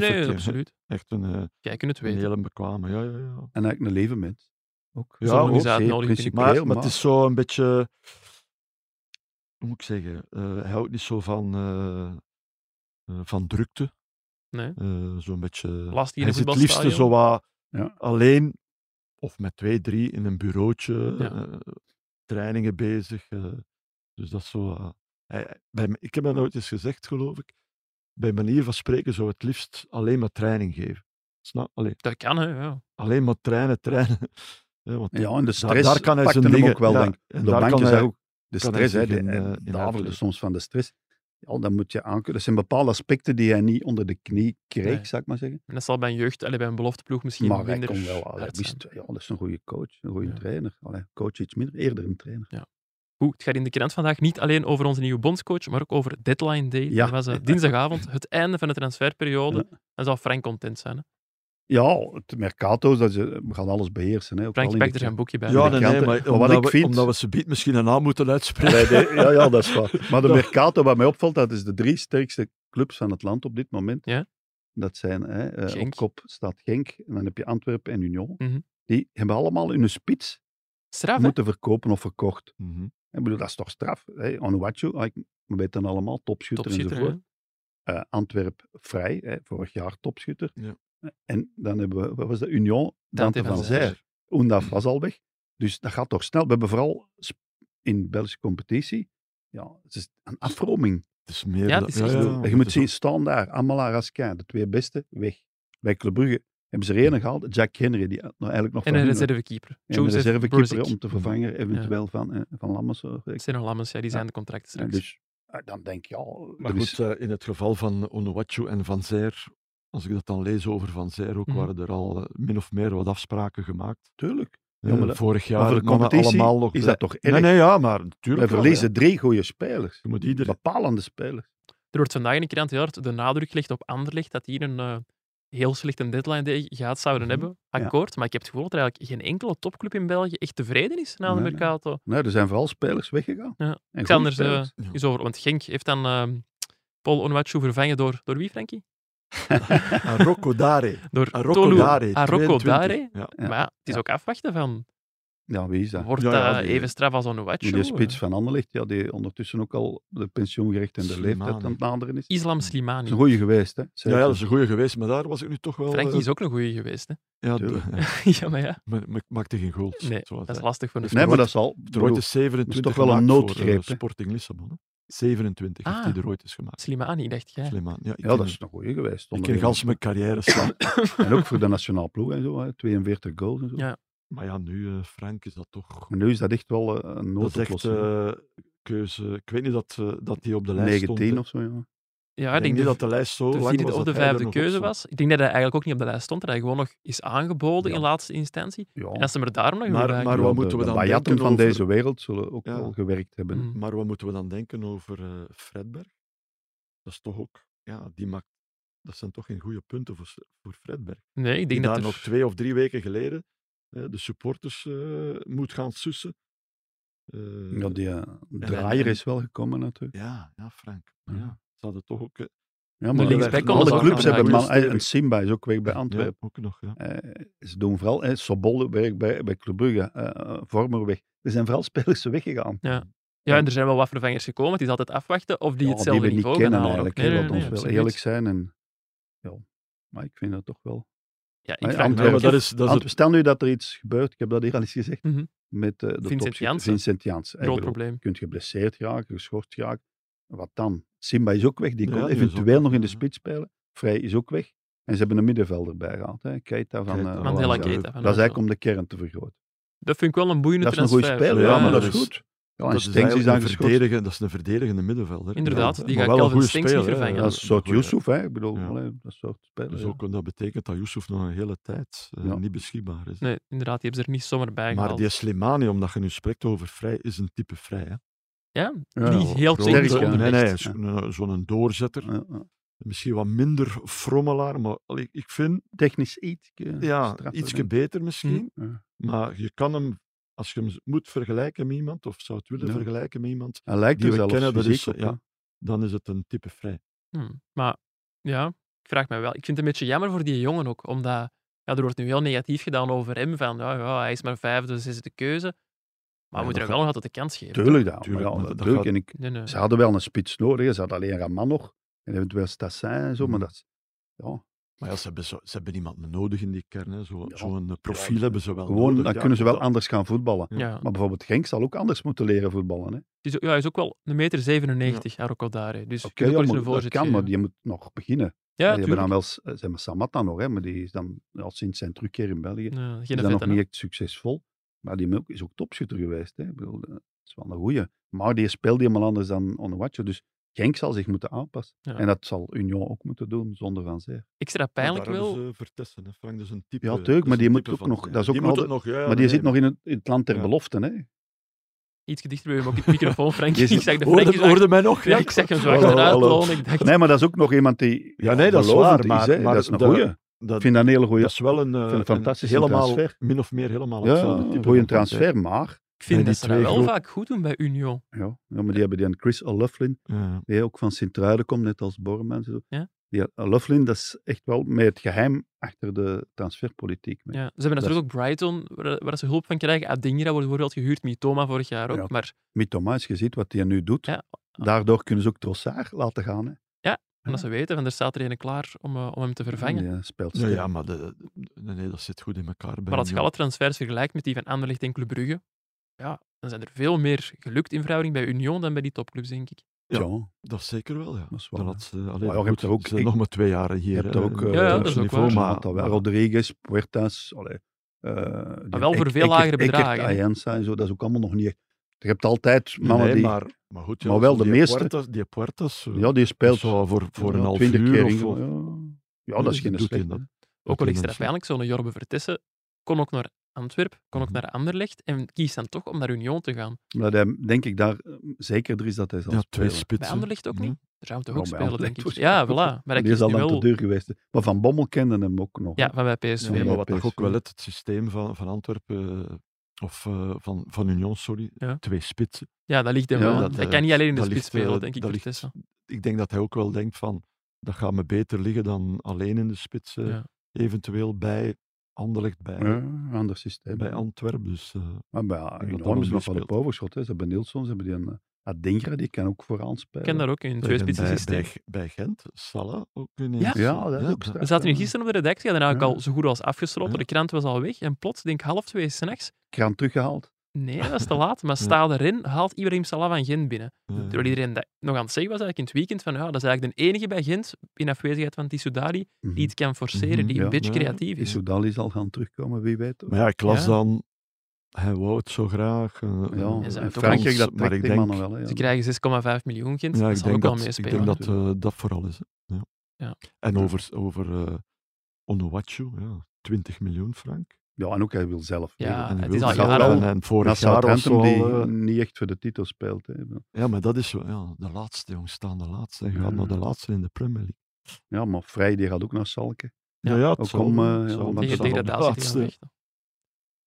Nee,
effect,
nee,
eh,
hè.
absoluut.
Echt een, eh,
Jij kunt het
een
weten.
hele bekwame, ja, ja, ja.
En eigenlijk een leven mens. Ook.
Ja, Zolang
is hij
zeer
uitnodigd
principieel,
Maar, maar
maar-
het is zo een beetje, hoe moet ik zeggen, eh, hij houdt niet zo van, eh, eh, van drukte.
Nee.
Eh, Zo'n beetje...
Lastig in
hij
een
zit het liefste
voetbalstadion.
zo wat
Ja.
alleen, of met twee, drie, in een bureautje,
Ja.
eh, trainingen bezig. eh. dus dat is zo... wat- hij- bij, ik heb dat nooit eens gezegd, geloof ik. Bij manier van spreken zou het liefst alleen maar training geven. Snap? Allee,
Dat kan, hè. Ja.
alleen maar trainen, trainen. Ja, want
Ja, en de
daar-
stress
daar kan hij
pakte
zijn
hem
dingen
ook wel,
ja,
denk ik.
en
De
daar
bank
kan
is
hij
ook. De
kan hij
Dus stress, hè,
zich
de-
in, eh, in
en daverde
uitleven.
soms van de stress. ja, dan moet je aankunnen. Dat zijn bepaalde aspecten die hij niet onder de knie kreeg,
Nee.
zou ik maar zeggen.
En dat zal bij een jeugd, allee, bij een belofteploeg misschien
maar hij
minder
kon wel. Allee,
hard zijn.
wist, ja, dat is een goede coach, een goede
Ja.
trainer. Allee, coach iets minder, eerder een trainer.
Goed, het gaat in de krant vandaag niet alleen over onze nieuwe bondscoach, maar ook over Deadline Day.
Ja.
Dat was eh, dinsdagavond, het einde van de transferperiode. Dan zal Frank content zijn. Hè?
Ja, het Mercato, dat is, eh, we gaan alles beheersen. Hè, ook
Frank
al in
pakt
de
er zijn boekje bij.
Ja,
de
nee, nee,
kranten.
maar
Maar wat
omdat,
ik
we,
vind-
omdat we ze biedt misschien een naam moeten uitspreken.
Bij de- ja, ja, dat is waar. Maar de
Dat-
Mercato, wat mij opvalt, dat is de drie sterkste clubs van het land op dit moment.
Ja.
Dat zijn, hè, eh,
Genk.
op kop staat Genk, en dan heb je Antwerpen en Union.
Mhm.
Die hebben allemaal hun spits
Straf, hè?
moeten verkopen of verkocht.
Mhm.
Ik bedoel, dat is toch straf. Hè? Onuachu, ah, ik- we weten allemaal, topschutter,
Topschutter,
enzovoort.
hè?
Eh, Antwerp vrij, hè, vorig jaar topschutter. Eh,
Ja.
En dan hebben we, wat was dat, Union, Dante van
van Mm.
Zijr. Oendaf was al weg. Dus dat gaat toch snel. We hebben vooral sp- in de Belgische competitie, ja, het is een afroming.
Het is
Ja,
meer dan-
het is echt zo.
je
het
moet
is
zien, staan daar, Amala Raskin, de twee beste, weg. Bij Club Brugge hebben ze er één gehaald, Jack Henry, die nou eigenlijk nog
En
van
een
hun-
reservekeeper.
en een
Joseph
reservekeeper
Brozic.
om te vervangen, eventueel van, eh, van Lammers. eh,
Het zijn nog lammers, ja, die zijn de contracten straks.
Dus eh, dan denk je, ja,
Maar
er is-
goed, eh, in het geval van Onuwachu en Van Zijr, als ik dat dan lees over Van Zijr ook,
Mhm.
waren er al eh, min of meer wat afspraken gemaakt.
tuurlijk.
Eh,
Ja, maar dat-
Vorig jaar
maar voor de
mannen
competitie
allemaal nog
is
bij-
dat toch erg?
Nee, nee, ja, maar natuurlijk.
We verliezen drie goede spelers.
Je moet iedereen...
Bepalende spelers.
Er wordt vandaag in de krant heel hard de nadruk gelegd op Anderlecht dat hier een eh, heel slechte deadline day gehad zouden
Mhm.
hebben. Akkoord, maar ik heb het gevoel dat er eigenlijk geen enkele topclub in België echt tevreden is na de
Nee, nee.
Mercato.
Nee, Nou, er zijn vooral spelers weggegaan.
Ja.
En goede
Xander,
spelers.
eh,
Ja.
is over, want Genk heeft dan ehm, Paul Onwachu vervangen door, door wie, Frankie?
Aan Rocco Dare.
Door
Aan
Tolu
Rocco Dare.
aan Rocco
22.
Dare.
Ja.
Ja,
maar ja, het is
ja.
ook afwachten van,
Ja, wie is dat?
wordt eh?
Ja, ja,
dat
die-
even straf als Onwachu?
Die spits van Anderlecht, ja, die ondertussen ook al de pensioengerecht en de
Slimani.
leeftijd aan het naderen is.
Islam
Dat
Slimani.
is een goeie geweest, hè?
Ja,
Zeker.
ja, dat is een goeie geweest, maar daar was ik nu toch wel...
Frankie
eh,
is ook een goeie geweest. Hè?
ja,
Tuurlijk.
de- ja,
ja, maar ja.
maar, maar ik maakte geen goals.
Nee,
zoals
dat is
hij-
lastig voor een
Nee,
Nee,
spits.
maar dat is al...
er ooit
bedoel,
is 27
toch wel een
gemaakt voor,
noodgreep,
eh,
hè?
Sporting Lissabon. hè. 27
Ah.
heeft hij er ooit eens gemaakt.
Slimani, dacht jij.
Slimaan. Ja, ik
ja,
ken
dat
hem.
is een goeie geweest.
Ik
onder
kreeg
Erik.
als mijn carrière slaan.
En ook voor de nationale ploeg en zo, hè, 42 goals en zo.
Ja.
maar ja, nu, eh, Frank, is dat toch...
Maar nu is dat echt wel eh, een
Dat is echt
noodoplossing.
eh, keuze. Ik weet niet dat, eh, dat die op de lijst stond.
19
hè.
of zo, ja.
Ja,
Ik denk niet
de-
dat de lijst zo
de
lang
vierde
was
of de
dat hij er
vijfde
nog op
keuze
stond.
was. Ik denk dat hij eigenlijk ook niet op de lijst stond, dat hij gewoon nog is aangeboden
Ja.
in laatste instantie.
ja.
En als ze hem er daarom nog
Maar-
maar,
maar-
Ja, de-
wat moeten we
de
dan
Bayatten
denken
van
over-
deze wereld zullen ook
Ja.
wel gewerkt hebben.
Mm.
Maar wat moeten we dan denken over eh, Fredberg? Dat is toch ook... Ja, die maakt... Dat zijn toch geen goede punten voor, S- voor Fredberg.
Nee, ik
Die
denk
daar
dat er...
nog twee of drie weken geleden eh, de supporters eh, moet gaan sussen.
Hmm.
Eh,
Ja, die eh,
en-
draaier is wel gekomen natuurlijk.
ja, ja, Frank.
Ja.
Ja. Ze hadden toch ook... eh,
Ja,
De
maar
linksback
wij-
kon
alle
dat ook
clubs
nog
hebben
wel.
man. eh, En Simba is ook weg bij
ja,
Antwerpen.
ook nog, ja.
Eh, ze doen vooral, eh, Sobol werkt bij, bij Club Brugge, eh, Vormer weg. Er zijn vooral spelers weggegaan.
Ja, en er zijn wel wat vervangers gekomen. Het is altijd afwachten of die
Ja,
hetzelfde
die we niet
niveau
kennen
gaan halen.
eigenlijk.
Nee,
hè,
nee,
laat
nee,
ons wel
absoluut.
eerlijk zijn. En, ja, maar ik vind dat toch wel...
Ja, ik
Maar
vraag me
Antwerpen-
af-
maar dat is, dat is
Ant-
het-
Stel nu dat er iets gebeurt, ik heb dat hier al eens gezegd,
Mhm.
met eh, de
Vincent
topschutter,
Janssen.
Vincent Janssen. Ik
Groot
bedoel,
probleem.
kunt geblesseerd raken, geschorst raken. Wat dan? Simba is ook weg. Die
Ja,
kon
die is
eventueel
ook-
nog in de
ja.
spits spelen. Vrij is ook weg. En ze hebben een middenvelder bijgehaald. Hè. Keita van...
Keita.
eh,
Mandela
Mandela
Wallens.
Keita.
Gate.
Dat is eigenlijk om de kern te vergroten.
Dat vind ik wel een boeiende
Dat is een goede
transfer.
speler,
Ja,
ja,
ja,
maar dat
dat
is
is-
goed. Ja, en
dat
Stengs is
eigenlijk een,
aangeschorst.
verdedige, dat is een verdedigende middenvelder.
Inderdaad,
Ja,
die
maar
gaat
wel een
Kelvin
goede
Stengs niet
speler, hè.
vervangen.
Dat is een soort
eh,
goeie-
Yusuf, hè. Ik bedoel,
Ja.
allee, dat soort speler.
Dus
ja.
ook, dat betekent dat Yusuf nog een hele tijd eh,
Ja.
niet beschikbaar is.
Nee, inderdaad, die hebben ze er niet zomaar bij
maar
gehaald.
die Slimani, omdat je nu spreekt over vrij, is een type vrij. Hè?
Ja,
Ja,
niet heel
grote-
technisch
Sterk, ja.
Nee, nee,
onderlegd.
is een- zo'n doorzetter.
Ja, ja.
Misschien wat minder frommelaar, maar allee, ik vind
Technisch iets. eh,
ja, ietsje beter misschien.
Ja.
Hm.
Maar je kan hem, als je hem z- moet vergelijken met iemand, of zou het willen
Ja.
vergelijken met iemand,
Hij lijkt
die
er
we
zelfs
kennen, dat is,
fysiek op,
ja.
hè.
dan is het een type vrij.
Hm, Maar ja, ik vraag me wel. Ik vind het een beetje jammer voor die jongen ook, omdat ja, er wordt nu heel negatief gedaan over hem. Van ja, ja, hij is maar vijfde, zesde keuze. Maar
Ja,
we moeten
dat
hem wel nog altijd de kans geven.
Tuurlijk dat.
Tuurlijk,
maar ja,
maar dat
natuurlijk.
gaat-
En ik,
Nee, nee.
ze hadden wel een spits nodig. hè. Ze hadden alleen Raman nog. En eventueel Stassin en zo. Maar
Mhm.
dat is... Ja,
Maar ja, ze hebben, zo- ze hebben iemand nodig in die kern. hè. Zo- Zo'n
Ja.
eh, profiel
Ja,
hebben ze wel
gewoon,
nodig.
dan
ja,
kunnen ze wel
omdat-
anders gaan voetballen.
Ja.
Maar bijvoorbeeld Genk zal ook anders moeten leren voetballen. Hè?
Het is ook- ja, hij is ook wel een meter 97, ja. Arocodare. Dus je kunt
Oké,
ook wel
ja,
eens
maar
een
dat
voorzetje
kan, maar
geven.
je moet nog beginnen.
Ja,
die hebben
tuurlijk.
dan wel s- eh, ze hebben Samatta nog, hè, maar die is dan al sinds zijn terugkeer in België
Ja, Hmm, geen
is
vette,
dan nog
hè.
niet echt succesvol. Maar die Milk is ook topschutter geweest. Hè. Ik bedoel, eh, dat is wel een goeie. Maar die speelde helemaal anders dan Onuachu. Dus Genk zal zich moeten aanpassen.
Ja.
En dat zal Union ook moeten doen, zonder Van Zeer.
Extra pijnlijk
Daar hebben
wel.
ze vertessen, hè, Frank. Dus een type,
Ja, tuurlijk,
dat is
maar die
een
moet
type
ook
van-
nog- dat is ook
die
nog
moet het nog, ja, ja,
maar die
nee,
zit nog in het, in het land der
Ja.
beloften, hè.
Iets gedichter bij mijn microfoon, Frank.
Je
Ik
ziet-
zag de
Hoorde,
vlekjes achter-
hoorde mij nog?
Ja, ik zag hem zo
Hallo,
achteruit
Oh, hallo.
lopen. Ik dacht,
Nee, maar dat is ook nog iemand die
Ja, nee, dat is
belovend
waar, maar-
hè.
maar
dat is een
de-
goeie.
Dat,
Ik vind dat een hele goeie,
dat is wel een, eh,
vind een fantastische
helemaal,
transfer.
Min of meer helemaal
ja,
hetzelfde
een
type.
goeie
van
transfer, maar...
ik vind
Nee,
dat
die
ze dat
twee
wel
groep-
vaak goed doen bij Union.
Ja, ja, maar die hebben die aan Chris O'Loughlin,
Ja.
die ook van Sint-Truiden komt, net als Bormans. en zo.
Ja.
Die O'Loughlin, dat is echt wel met het geheim achter de transferpolitiek. mee.
Ja. Ze hebben natuurlijk
is-
ook Brighton, waar, waar ze hulp van krijgen. Adingra wordt bijvoorbeeld gehuurd, Mitoma vorig jaar ook.
Ja.
Maar
Mitoma, als je ziet wat hij nu doet,
Ja.
daardoor kunnen ze ook Trossard laten gaan. Hè.
omdat ze weten, van er staat er een klaar om, eh, om hem te vervangen.
Die, eh, speelt
Ja,
sterk.
ja, maar de, nee, nee, dat zit goed in elkaar. bij
Maar als je
Union.
alle transfers vergelijkt met die van Anderlecht en Club Brugge, ja, dan zijn er veel meer gelukt in verhouding bij Union dan bij die topclubs, denk ik.
Ja.
Tja,
Dat is zeker wel, ja.
Dat is waar,
Dan
hè.
had ze, allee,
Maar ja, je
goed,
hebt er ook-
ze zijn
ik-
nog maar twee jaren hier.
je hebt
hè,
op
en-
Ja, ja, dat is ook
niveau,
waar.
maar,
Maar-
Altawe- Rodriguez, Puertas, allee, eh, die
Maar wel voor
Ek-
veel lagere
Eckert- Eckert,
bedragen, hè.
Ayensa en zo, dat is ook allemaal nog niet... Je hebt altijd mannen
Nee,
die...
maar, maar goed, ja,
maar wel
zo
de
die
meeste-
Puertas, die Puertas, eh,
ja, die speelt
zo voor, voor
ja,
een half
20 keer
uur
in-
of, of-
ja. ja, dat is
die
geen
doet hij
slecht.
dat.
Ook
Dat
wel
is
extra
een-
pijnlijk, zo'n Jorbe Vertessen kon ook naar Antwerpen, kon ook
Mhm.
naar Anderlecht en kiest dan toch om naar Union te gaan.
Omdat hij, denk ik, daar eh, zekerder is dat hij zal
Ja, twee
spelen.
spitsen.
Bij Anderlecht ook
Ja.
niet. Daar zou hij toch
Ja,
ook
bij
spelen, denk
Anderlecht
ik.
was-
Ja, voilà. Maar hij
die
kiest
zal
nu
dan te
wel...
duur geweest. zijn. Maar Van Bommel kende hem ook nog. hè.
Ja, van bij PSV.
Nee,
Ja,
maar
bij
wat toch ook
PSV.
wel het, het systeem van, van Antwerpen, eh, of eh, van, van Union, sorry,
Ja.
twee spitsen.
Ja, dat ligt hem
Ja,
wel.
dat,
hij
eh,
kan niet alleen in de
dat
spits
ligt, eh,
spelen, denk ik,
dat ligt-
Vertessen.
Ik denk dat hij ook wel denkt van, dat gaat me beter liggen dan alleen in de spits, eh,
Ja.
eventueel bij Anderlecht, bij,
Ja, ander systeem.
bij Antwerpen. Dus, eh,
Maar ja,
dat dat
enorm
wel
is nog wel op
meespeelt.
overschot. Hè. Ze hebben Nilsson, ze hebben die een Adingra, die kan ook vooraan
Ik
spelen.
ken daar ook in,
bij,
twee spitsen
bij-
systeem.
bij- bij Gent, Salah ook ineens.
Ja, dat is ook
We
sterk.
zaten hier gisteren op de redactie, hadden eigenlijk
Ja.
al zo goed als afgesloten.
Ja.
De krant was al weg en plots, denk ik, half twee s'nachts.
Kraan teruggehaald.
Nee, dat is te laat. Maar staal erin, haalt Ibrahim Salah van Gent binnen.
Ja.
Terwijl iedereen dat nog aan het zeggen was eigenlijk in het weekend van ja, dat is eigenlijk de enige bij Gent, in afwezigheid van Tissoudali,
Mhm.
die iets kan forceren, die
Mhm,
een
ja.
beetje
Ja.
creatief is.
Issoudali zal gaan terugkomen, wie weet.
Maar ja, ik las
Ja.
dan, hij wou het zo graag. eh, eh,
ja,
ze
en
hebben toch
Frankrijk,
Frans,
dat
maar
trekt
ik
die
denk,
mannen wel. Hè, ja.
Ze krijgen 6,5 miljoen, Gent.
ja,
dat
ik
zal ook
denk
wel
dat, ik
meespelen.
denk dat eh, dat vooral is. hè. Ja.
Ja.
En
Ja.
over, over eh Onuwachu, ja, 20 miljoen frank.
ja, en ook hij wil zelf.
Ja,
meedoen.
En
Ah,
die
het is
wil
al
zelf
jaren-
wel- En, en vorig
Na
jaar was
Southampton,
zo
die
al, eh,
niet echt voor de titel speelt. Hè.
Ja, maar dat is zo, ja, de laatste, jongens, staan de laatste. En gaat
Ja.
naar de laatste in de Premier League.
Ja, maar Vrij die gaat ook naar Salke.
Ja,
Ja, ja, het
ook
zal
om,
wel,
eh, ja,
het zal
om
wel.
dat
Het
tegen
zal wel de
degradatie te gaan
laatste.
vechten.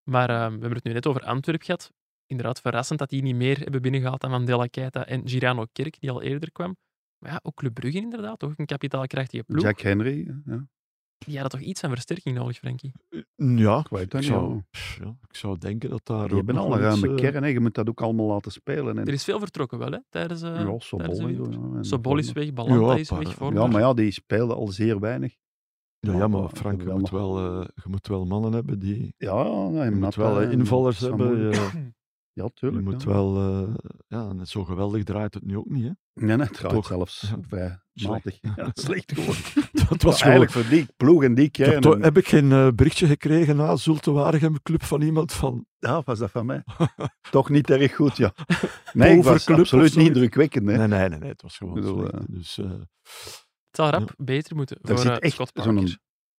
Maar eh, we hebben het nu net over Antwerp gehad. Inderdaad, verrassend dat die niet meer hebben binnengehaald dan Mandela Keita en Girano Kerk, die al eerder kwam. Maar ja, ook Club Brugge inderdaad, toch een kapitaalkrachtige ploeg.
Jack Henry, hè, ja.
Die hadden toch iets aan versterking nodig, Frankie?
Ja,
kwijt
ik
dan,
zou,
ja.
pff, ja, ik zou denken dat daar.
Die
ook
hebben
nog
al een
wel iets,
ruime
eh,
kern, hè. je moet dat ook allemaal laten spelen. En,
Er is veel vertrokken wel, hè, tijdens... eh
ja,
tijdens de
Sobol, en
winter.
zo, ja, en-
Sobol is weg, Balanta
Ja,
is
paar-
weg,
ja,
Vormer.
Ja, maar ja, die speelde al zeer weinig.
Ja, ja, maar
maar
Frank, je
wel
moet
nog-
wel, eh, je moet wel mannen hebben die.
Ja, ja, ja,
Je moet
Natta
wel eh,
en
invallers hebben.
Samouri.
eh,
Ja,
Je
tuurlijk.
moet
ja.
wel, eh, ja, en zo geweldig draait het nu ook niet. Hè?
Nee, nee, het draait
Toch.
zelfs
Ja.
vrij
Slecht.
matig. Ja, slecht geworden.
Dat was gewoon.
eigenlijk voor die ploeg en die
Toch-
kern.
toch
en-
heb ik geen eh, berichtje gekregen na Zulte Waregem Club van iemand van.
Ja, was dat van mij? Toch niet erg goed, ja. Nee, ik was
Bovenclub of
absoluut niet
zoiets.
indrukwekkend. Hè.
Nee, nee, nee, nee, het was gewoon.
Ik bedoel,
slecht,
eh,
hè. dus, eh,
Het zal rap beter moeten
Er
voor
zit
eh,
echt
Scott Parker.
zo'n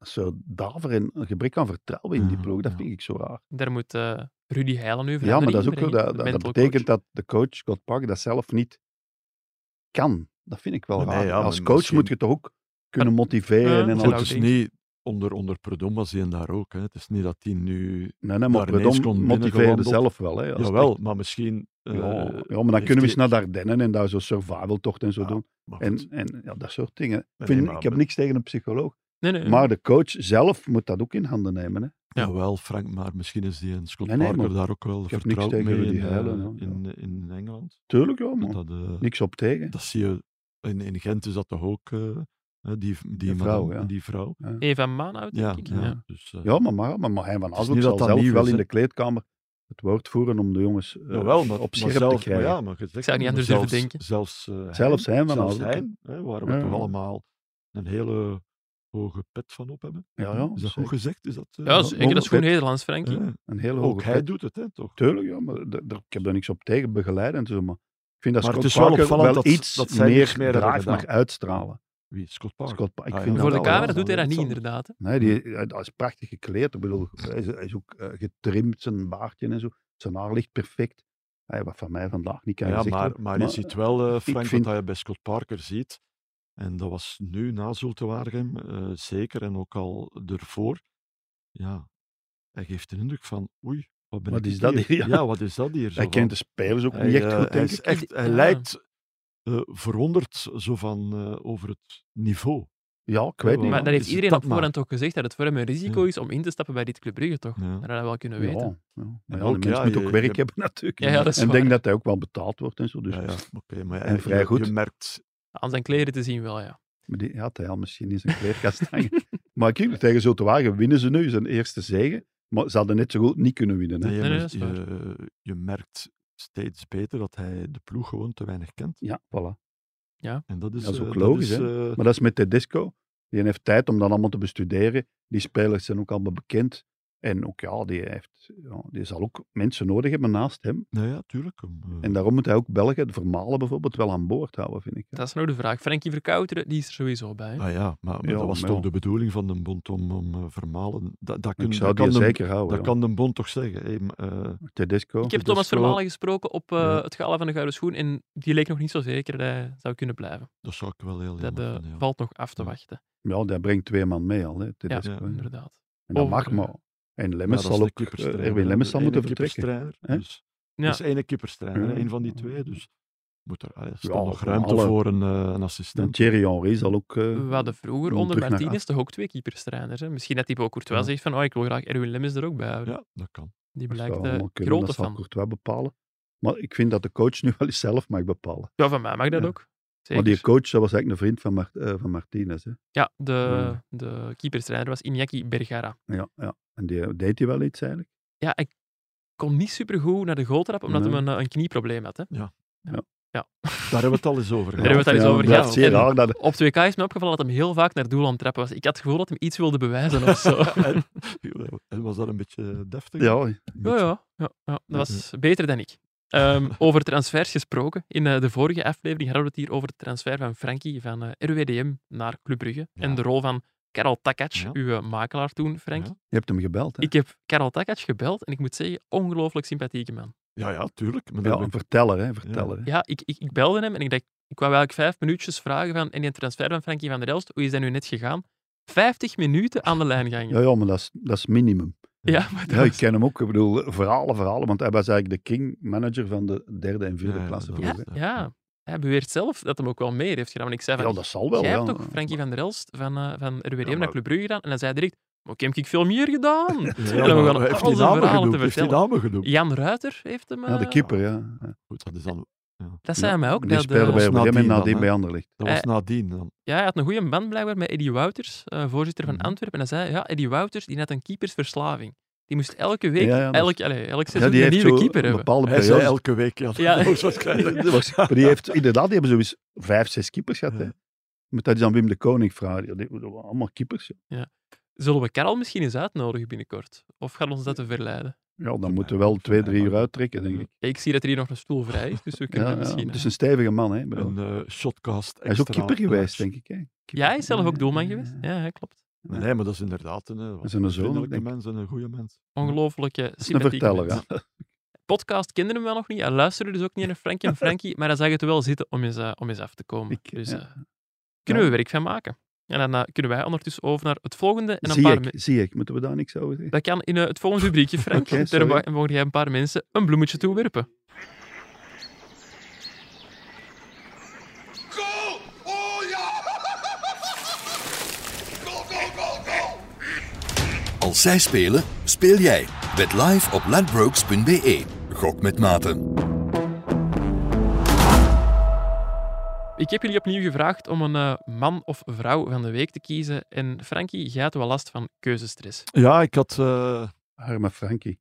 zo daver en een gebrek aan vertrouwen in die
Ja,
ploeg. Dat
Ah, ja.
vind ik zo raar.
Daar moet eh, Rudy Heilen nu
Ja, maar
verandering
dat is ook
in
zo.
brengen,
Dat,
de
dat, dat
mental
betekent
coach.
dat de coach, Scott Parker, dat zelf niet kan. Dat vind ik wel
Nee,
raar.
ja,
Als
maar
coach
misschien-
moet je toch ook kunnen
Ja,
motiveren.
dat
en
goed,
zou
al...
het is
ook
niet onder, onder Predom was hij daar ook. Hè. Het is niet dat hij nu.
Nee, nee, maar
daar ineens
Predom
kon
motiveren
binnengewandeld.
zelf wel. Hè, als
Jawel,
het
maar misschien.
echt-
eh,
ja, oh, ja, maar dan
heeft
kunnen we eens
hij-
naar Ardennen en daar zo'n survivaltocht en zo
Ja,
doen.
maar goed,
En, en ja, dat soort dingen. Ik
nee,
vind,
maar-
ik heb niks tegen een psycholoog.
Nee, nee.
Maar de coach zelf moet dat ook in handen nemen. Hè.
Ja.
Jawel, Frank, maar misschien is die en Scott
Nee, nee,
Parker
maar
daar ook wel
ik heb
vertrouwd
niks tegen
mee in,
Rudy
eh,
Heilen, ja,
in, in Engeland.
Tuurlijk, ja, man.
Dat, eh,
Niks op tegen.
dat zie je, in, in Gent is dat toch ook, eh, hè, die, die
De vrouw,
madame,
ja.
Die vrouw.
Eva Maanhout,
Ja,
denk ik.
ja.
ja.
Dus, eh,
Ja, maar, maar, maar Marijn van
is
Asbroek
niet dat
zal
dat
zelf
nieuw
wel
is,
in
hè.
de kleedkamer het woord voeren om de jongens eh,
Jawel, maar,
op
maar
scherp
zelf,
te krijgen.
Maar ja, maar gezegd,
Ik zou niet anders
zelfs,
durven denken.
Zelfs, eh,
Zelfs hij van
zelfs
Azenbroek.
hij, hè, waar we
Ja.
toch allemaal een hele hoge pet van op hebben.
Ja, ja,
is dat goed
zeker.
gezegd? Is dat, eh,
Ja, zeker. Dat is goed
Vet.
Nederlands, Frankie.
eh,
Een hele hoge
ook hij
pet.
doet het, hè, toch?
Tuurlijk, ja, maar d- d- ik heb daar niks op tegen, begeleidend en zo, maar vind dat
Maar het
Scott
is wel
Parker
opvallend dat-
iets
dat zij niks meer
meer
hebben
drive
gedaan.
mag uitstralen.
Wie? Scott Parker.
Scott, Pa- ik
Ah, ja.
vind
Voor de
Nou, dat wel-
camera
dat
doet hij dat niet,
interessant.
inderdaad. hè.
Nee,
Hm.
die, hij- hij is prachtig gekleed. Ik bedoel, hij is, hij is ook eh, getrimd, zijn baardje en zo. Zijn haar ligt perfect. Hij wat van mij vandaag niet kan
Ja,
gezegd
maar,
worden.
maar je ziet wel, eh,
ik
Frank,
vind-
wat je bij Scott Parker ziet. En dat was nu na Zulte Waregem eh, zeker en ook al ervoor. Ja, hij geeft de indruk van, oei, wat ben
Wat
ik
is dat hier?
Ja. wat is dat hier? Zo
Hij
van,
kent de spelers ook
hij,
niet echt
eh,
goed,
hij,
denk
is
ik.
echt, hij
Ja.
lijkt eh, verwonderd zo van, eh, over het niveau.
Ja, ik weet
Ja,
niet.
maar
Maar dat
is
heeft
het
iedereen
dat
op voorhand ook gezegd, dat het voor hem een risico
Ja.
is om in te stappen bij dit Club Brugge, toch?
Ja.
Dat hadden we wel kunnen
Ja,
weten.
ja. Maar
En
ja,
ook,
de mens
ja,
moet
je-
ook werk
je-
hebben natuurlijk.
Ja, ja, dat is
en ik
waar.
denk dat hij ook wel betaald wordt en zo. Dus
Ja, ja, oké, maar
En
ja,
vrij
je-
goed.
Je merkt,
Aan zijn kleren te zien wel, ja.
Maar die had hij al misschien in zijn kleerkast hangen. maar kijk, tegen Zulte Wagen winnen ze nu zijn eerste zege. Maar ze hadden net zo goed niet kunnen winnen. Hè?
nee, je,
Nee, nee,
merkt-
dat is
je, je merkt steeds beter dat hij de ploeg gewoon te weinig kent.
Ja, voilà.
En dat is,
Dat is
eh,
ook logisch,
is,
hè?
eh,
Maar dat is met Tedesco. Die heeft tijd om dat allemaal te bestuderen. Die spelers zijn ook allemaal bekend. En ook, ja, die, heeft, ja, die zal ook mensen nodig hebben naast hem.
nou ja, tuurlijk. om, eh,
En daarom moet hij ook Belgen, de Vermalen bijvoorbeeld, wel aan boord houden, vind ik.
Dat is nou de vraag. Frankie Verkouteren, die is er sowieso bij. hè.
Ah ja, maar, maar
Ja,
dat was
maar
toch
ja.
de bedoeling van de bond om, om eh, vermalen. Dat, dat, kun,
Ik
dat
zou
kan,
die
de,
zeker houden.
dat
ja.
kan de bond toch zeggen. Hey, m- eh,
Tedesco.
Ik heb
is
Thomas
wel-
Vermalen gesproken op eh,
Ja.
het gala van de Gouden Schoen en die leek nog niet zo zeker dat hij zou kunnen blijven.
dat zou ik wel heel
Dat
jammer
eh,
vinden, ja.
valt nog af te
Ja.
wachten.
Ja, daar brengt twee man mee al, hè, Tedesco.
Ja.
hè.
Inderdaad.
En dat mag
Overbruggen.
maar. En
Maar
Lemmens
dat is
zal
de
ook,
keeperstrainer,
eh,
hè.
Erwin Lemmens
De
zal moeten
ene
vertrekken.
keeperstrainer,
hè?
Dus,
Ja.
Dat is één keeperstrainer,
Ja.
één van die twee. Dus moet er, ah, er staat
Mhm. Ja,
nog
van
ruimte
alle-
voor een, eh, een
Dan
assistent.
Thierry Henry zal ook... eh,
We hadden vroeger
om
onder
terug naar
Martinez
acht.
toch ook twee keeperstrainers. Hè? Misschien dat Thibaut Courtois
Ja.
zegt van oh, ik wil graag Erwin Lemmens er ook bij houden.
Ja, dat kan.
Die
dat zou
blijkt
allemaal
de
kunnen,
grote
dat zal
fan.
Courtois bepalen. Maar ik vind dat de coach nu wel eens zelf mag bepalen.
Ja, van mij mag dat
Ja.
ook.
Maar
Zeker.
die coach dat was eigenlijk een vriend van, Mar- eh, van Martinez. Hè?
Ja, de,
Hmm.
Ja.
de keeperstrainer was Iñaki Bergara.
Ja, ja. En die, eh, deed hij wel iets eigenlijk?
Ja, hij kon niet supergoed naar de goal trappen, omdat
Nee.
hij een, eh, een knieprobleem had. Hè?
Daar hebben we het al eens over
hebben we het al eens
Ja,
over
dat
gehad.
is zeer
En-
raar dat...
Op 2K is me opgevallen dat hem heel vaak naar doel aan het trappen was. Ik had het gevoel dat hem iets wilde bewijzen of zo.
en, en was dat een beetje deftig?
Ja,
Ja, ja, ja, ja. dat
Hmm.
was beter dan ik. Ehm, over transfers gesproken. In eh, de vorige aflevering hadden we het hier over de transfer van Frankie van eh, RWDM naar Club Brugge. En
Ja.
de rol van Karel Takac,
Ja.
uw eh, makelaar toen, Frank.
Ja.
je hebt hem gebeld. Hè?
Ik heb Karel Takac gebeld en ik moet zeggen, ongelooflijk sympathieke man.
Ja, ja, tuurlijk. Maar
Ja,
dat
een
ben ik-
verteller, hè. Verteller, hè.
Ja, ik, ik, ik belde hem en ik dacht, ik wou eigenlijk vijf minuutjes vragen van, en die transfer van Frankie van der Elst, hoe is dat nu net gegaan? Vijftig minuten aan de lijn
Ja,
gangen.
ja, maar dat is, dat is minimum.
Ja, maar dat
Ja, ik
was-
ken hem ook. Ik bedoel, verhalen, verhalen. Want hij was eigenlijk de king manager van de derde en vierde
Ja, ja,
klasse
dat
vroeger.
was-
hè.
ja, hij beweert zelf dat hem ook wel meer heeft gedaan. En ik zei van,
Ja, dat zal wel.
Jij
ja.
hebt toch Frankie van der Elst van, eh van RWDM
maar-
naar Club Brugge gedaan? En hij zei direct, maar ik heb ik veel meer gedaan.
Ja,
we
maar
gaan
heeft
al
die
zijn
namen
verhalen
genoemd?
te
Heeft die
vertellen.
namen genoemd?
Jan Ruiter heeft hem...
Ja, de
eh,
keeper, ja. ja.
Goed, dat is dan
Dat zei hij mij ook.
Die
dat, eh,
speelde bij
Dat was
Willem en
nadien dan,
nadien
hè?
bij Anderlecht.
Dat
Eh,
was nadien dan.
Ja, hij had een goede band blijkbaar met Eddie Wouters, eh, voorzitter van
Mhm.
Antwerpen. En hij zei, ja, Eddie Wouters die had een keepersverslaving. Die moest elke week,
Ja, ja, dat-
elk, allee, elk
Ja,
seizoen
die
een
heeft
nieuwe
zo
keeper
een
hebben.
bepaalde
Hij zei
periode.
elke week, ja. dat
Ja.
was waarschijnlijk.
Maar die heeft, inderdaad, die hebben sowieso vijf, zes keepers gehad. Hè.
Ja.
Moet dat is aan Wim de Koning vragen. Ja, die- dat waren allemaal keepers. Ja,
Zullen we Karel misschien eens uitnodigen binnenkort? Of gaat ons dat te verleiden?
ja dan moeten we wel twee, drie uur uittrekken, denk ik.
Ik zie dat er hier nog een stoel vrij is, dus we
Ja,
kunnen
ja,
misschien...
dus een stevige man. Hè, ik bedoel.
Een eh, shotcast
hij is ook
extra
keeper geweest,
large.
denk ik. Hè.
Ja, hij is zelf ook doelman
Ja, ja,
geweest.
ja.
Ja, ja, klopt.
ik.
Nee, maar dat is inderdaad een, eh, wat
is een zoon,
vriendelijke
denk ik.
mens en een goede mens.
Ongelooflijke
Dat is een
sympathieke
verteller,
mens.
ja.
podcast kenden hem wel nog niet. Hij luisterde dus ook niet naar Frankie en Frankie, maar hij zag het wel zitten om eens, eh, om eens af te komen.
Ik,
dus
ja.
eh, kunnen we werk van maken. En dan eh, kunnen wij ondertussen over naar het volgende. En een
Zie
paar
ik,
me-
zie ik. Moeten we daar niks over zeggen?
Dat kan in eh, het volgende rubriekje, Frank.
Oké,
En Daar
sorry.
mo- mogen jij een paar mensen een bloemetje toewerpen.
Goal! Oh ja! Goal, goal, goal, goal!
Als zij spelen, speel jij. Bet live op ladbrokes.be. Gok met maten.
Ik heb jullie opnieuw gevraagd om een eh, man of vrouw van de week te kiezen. En Frankie, jij had wel last van keuzestress.
Ja, ik had... eh,
Arme Frankie.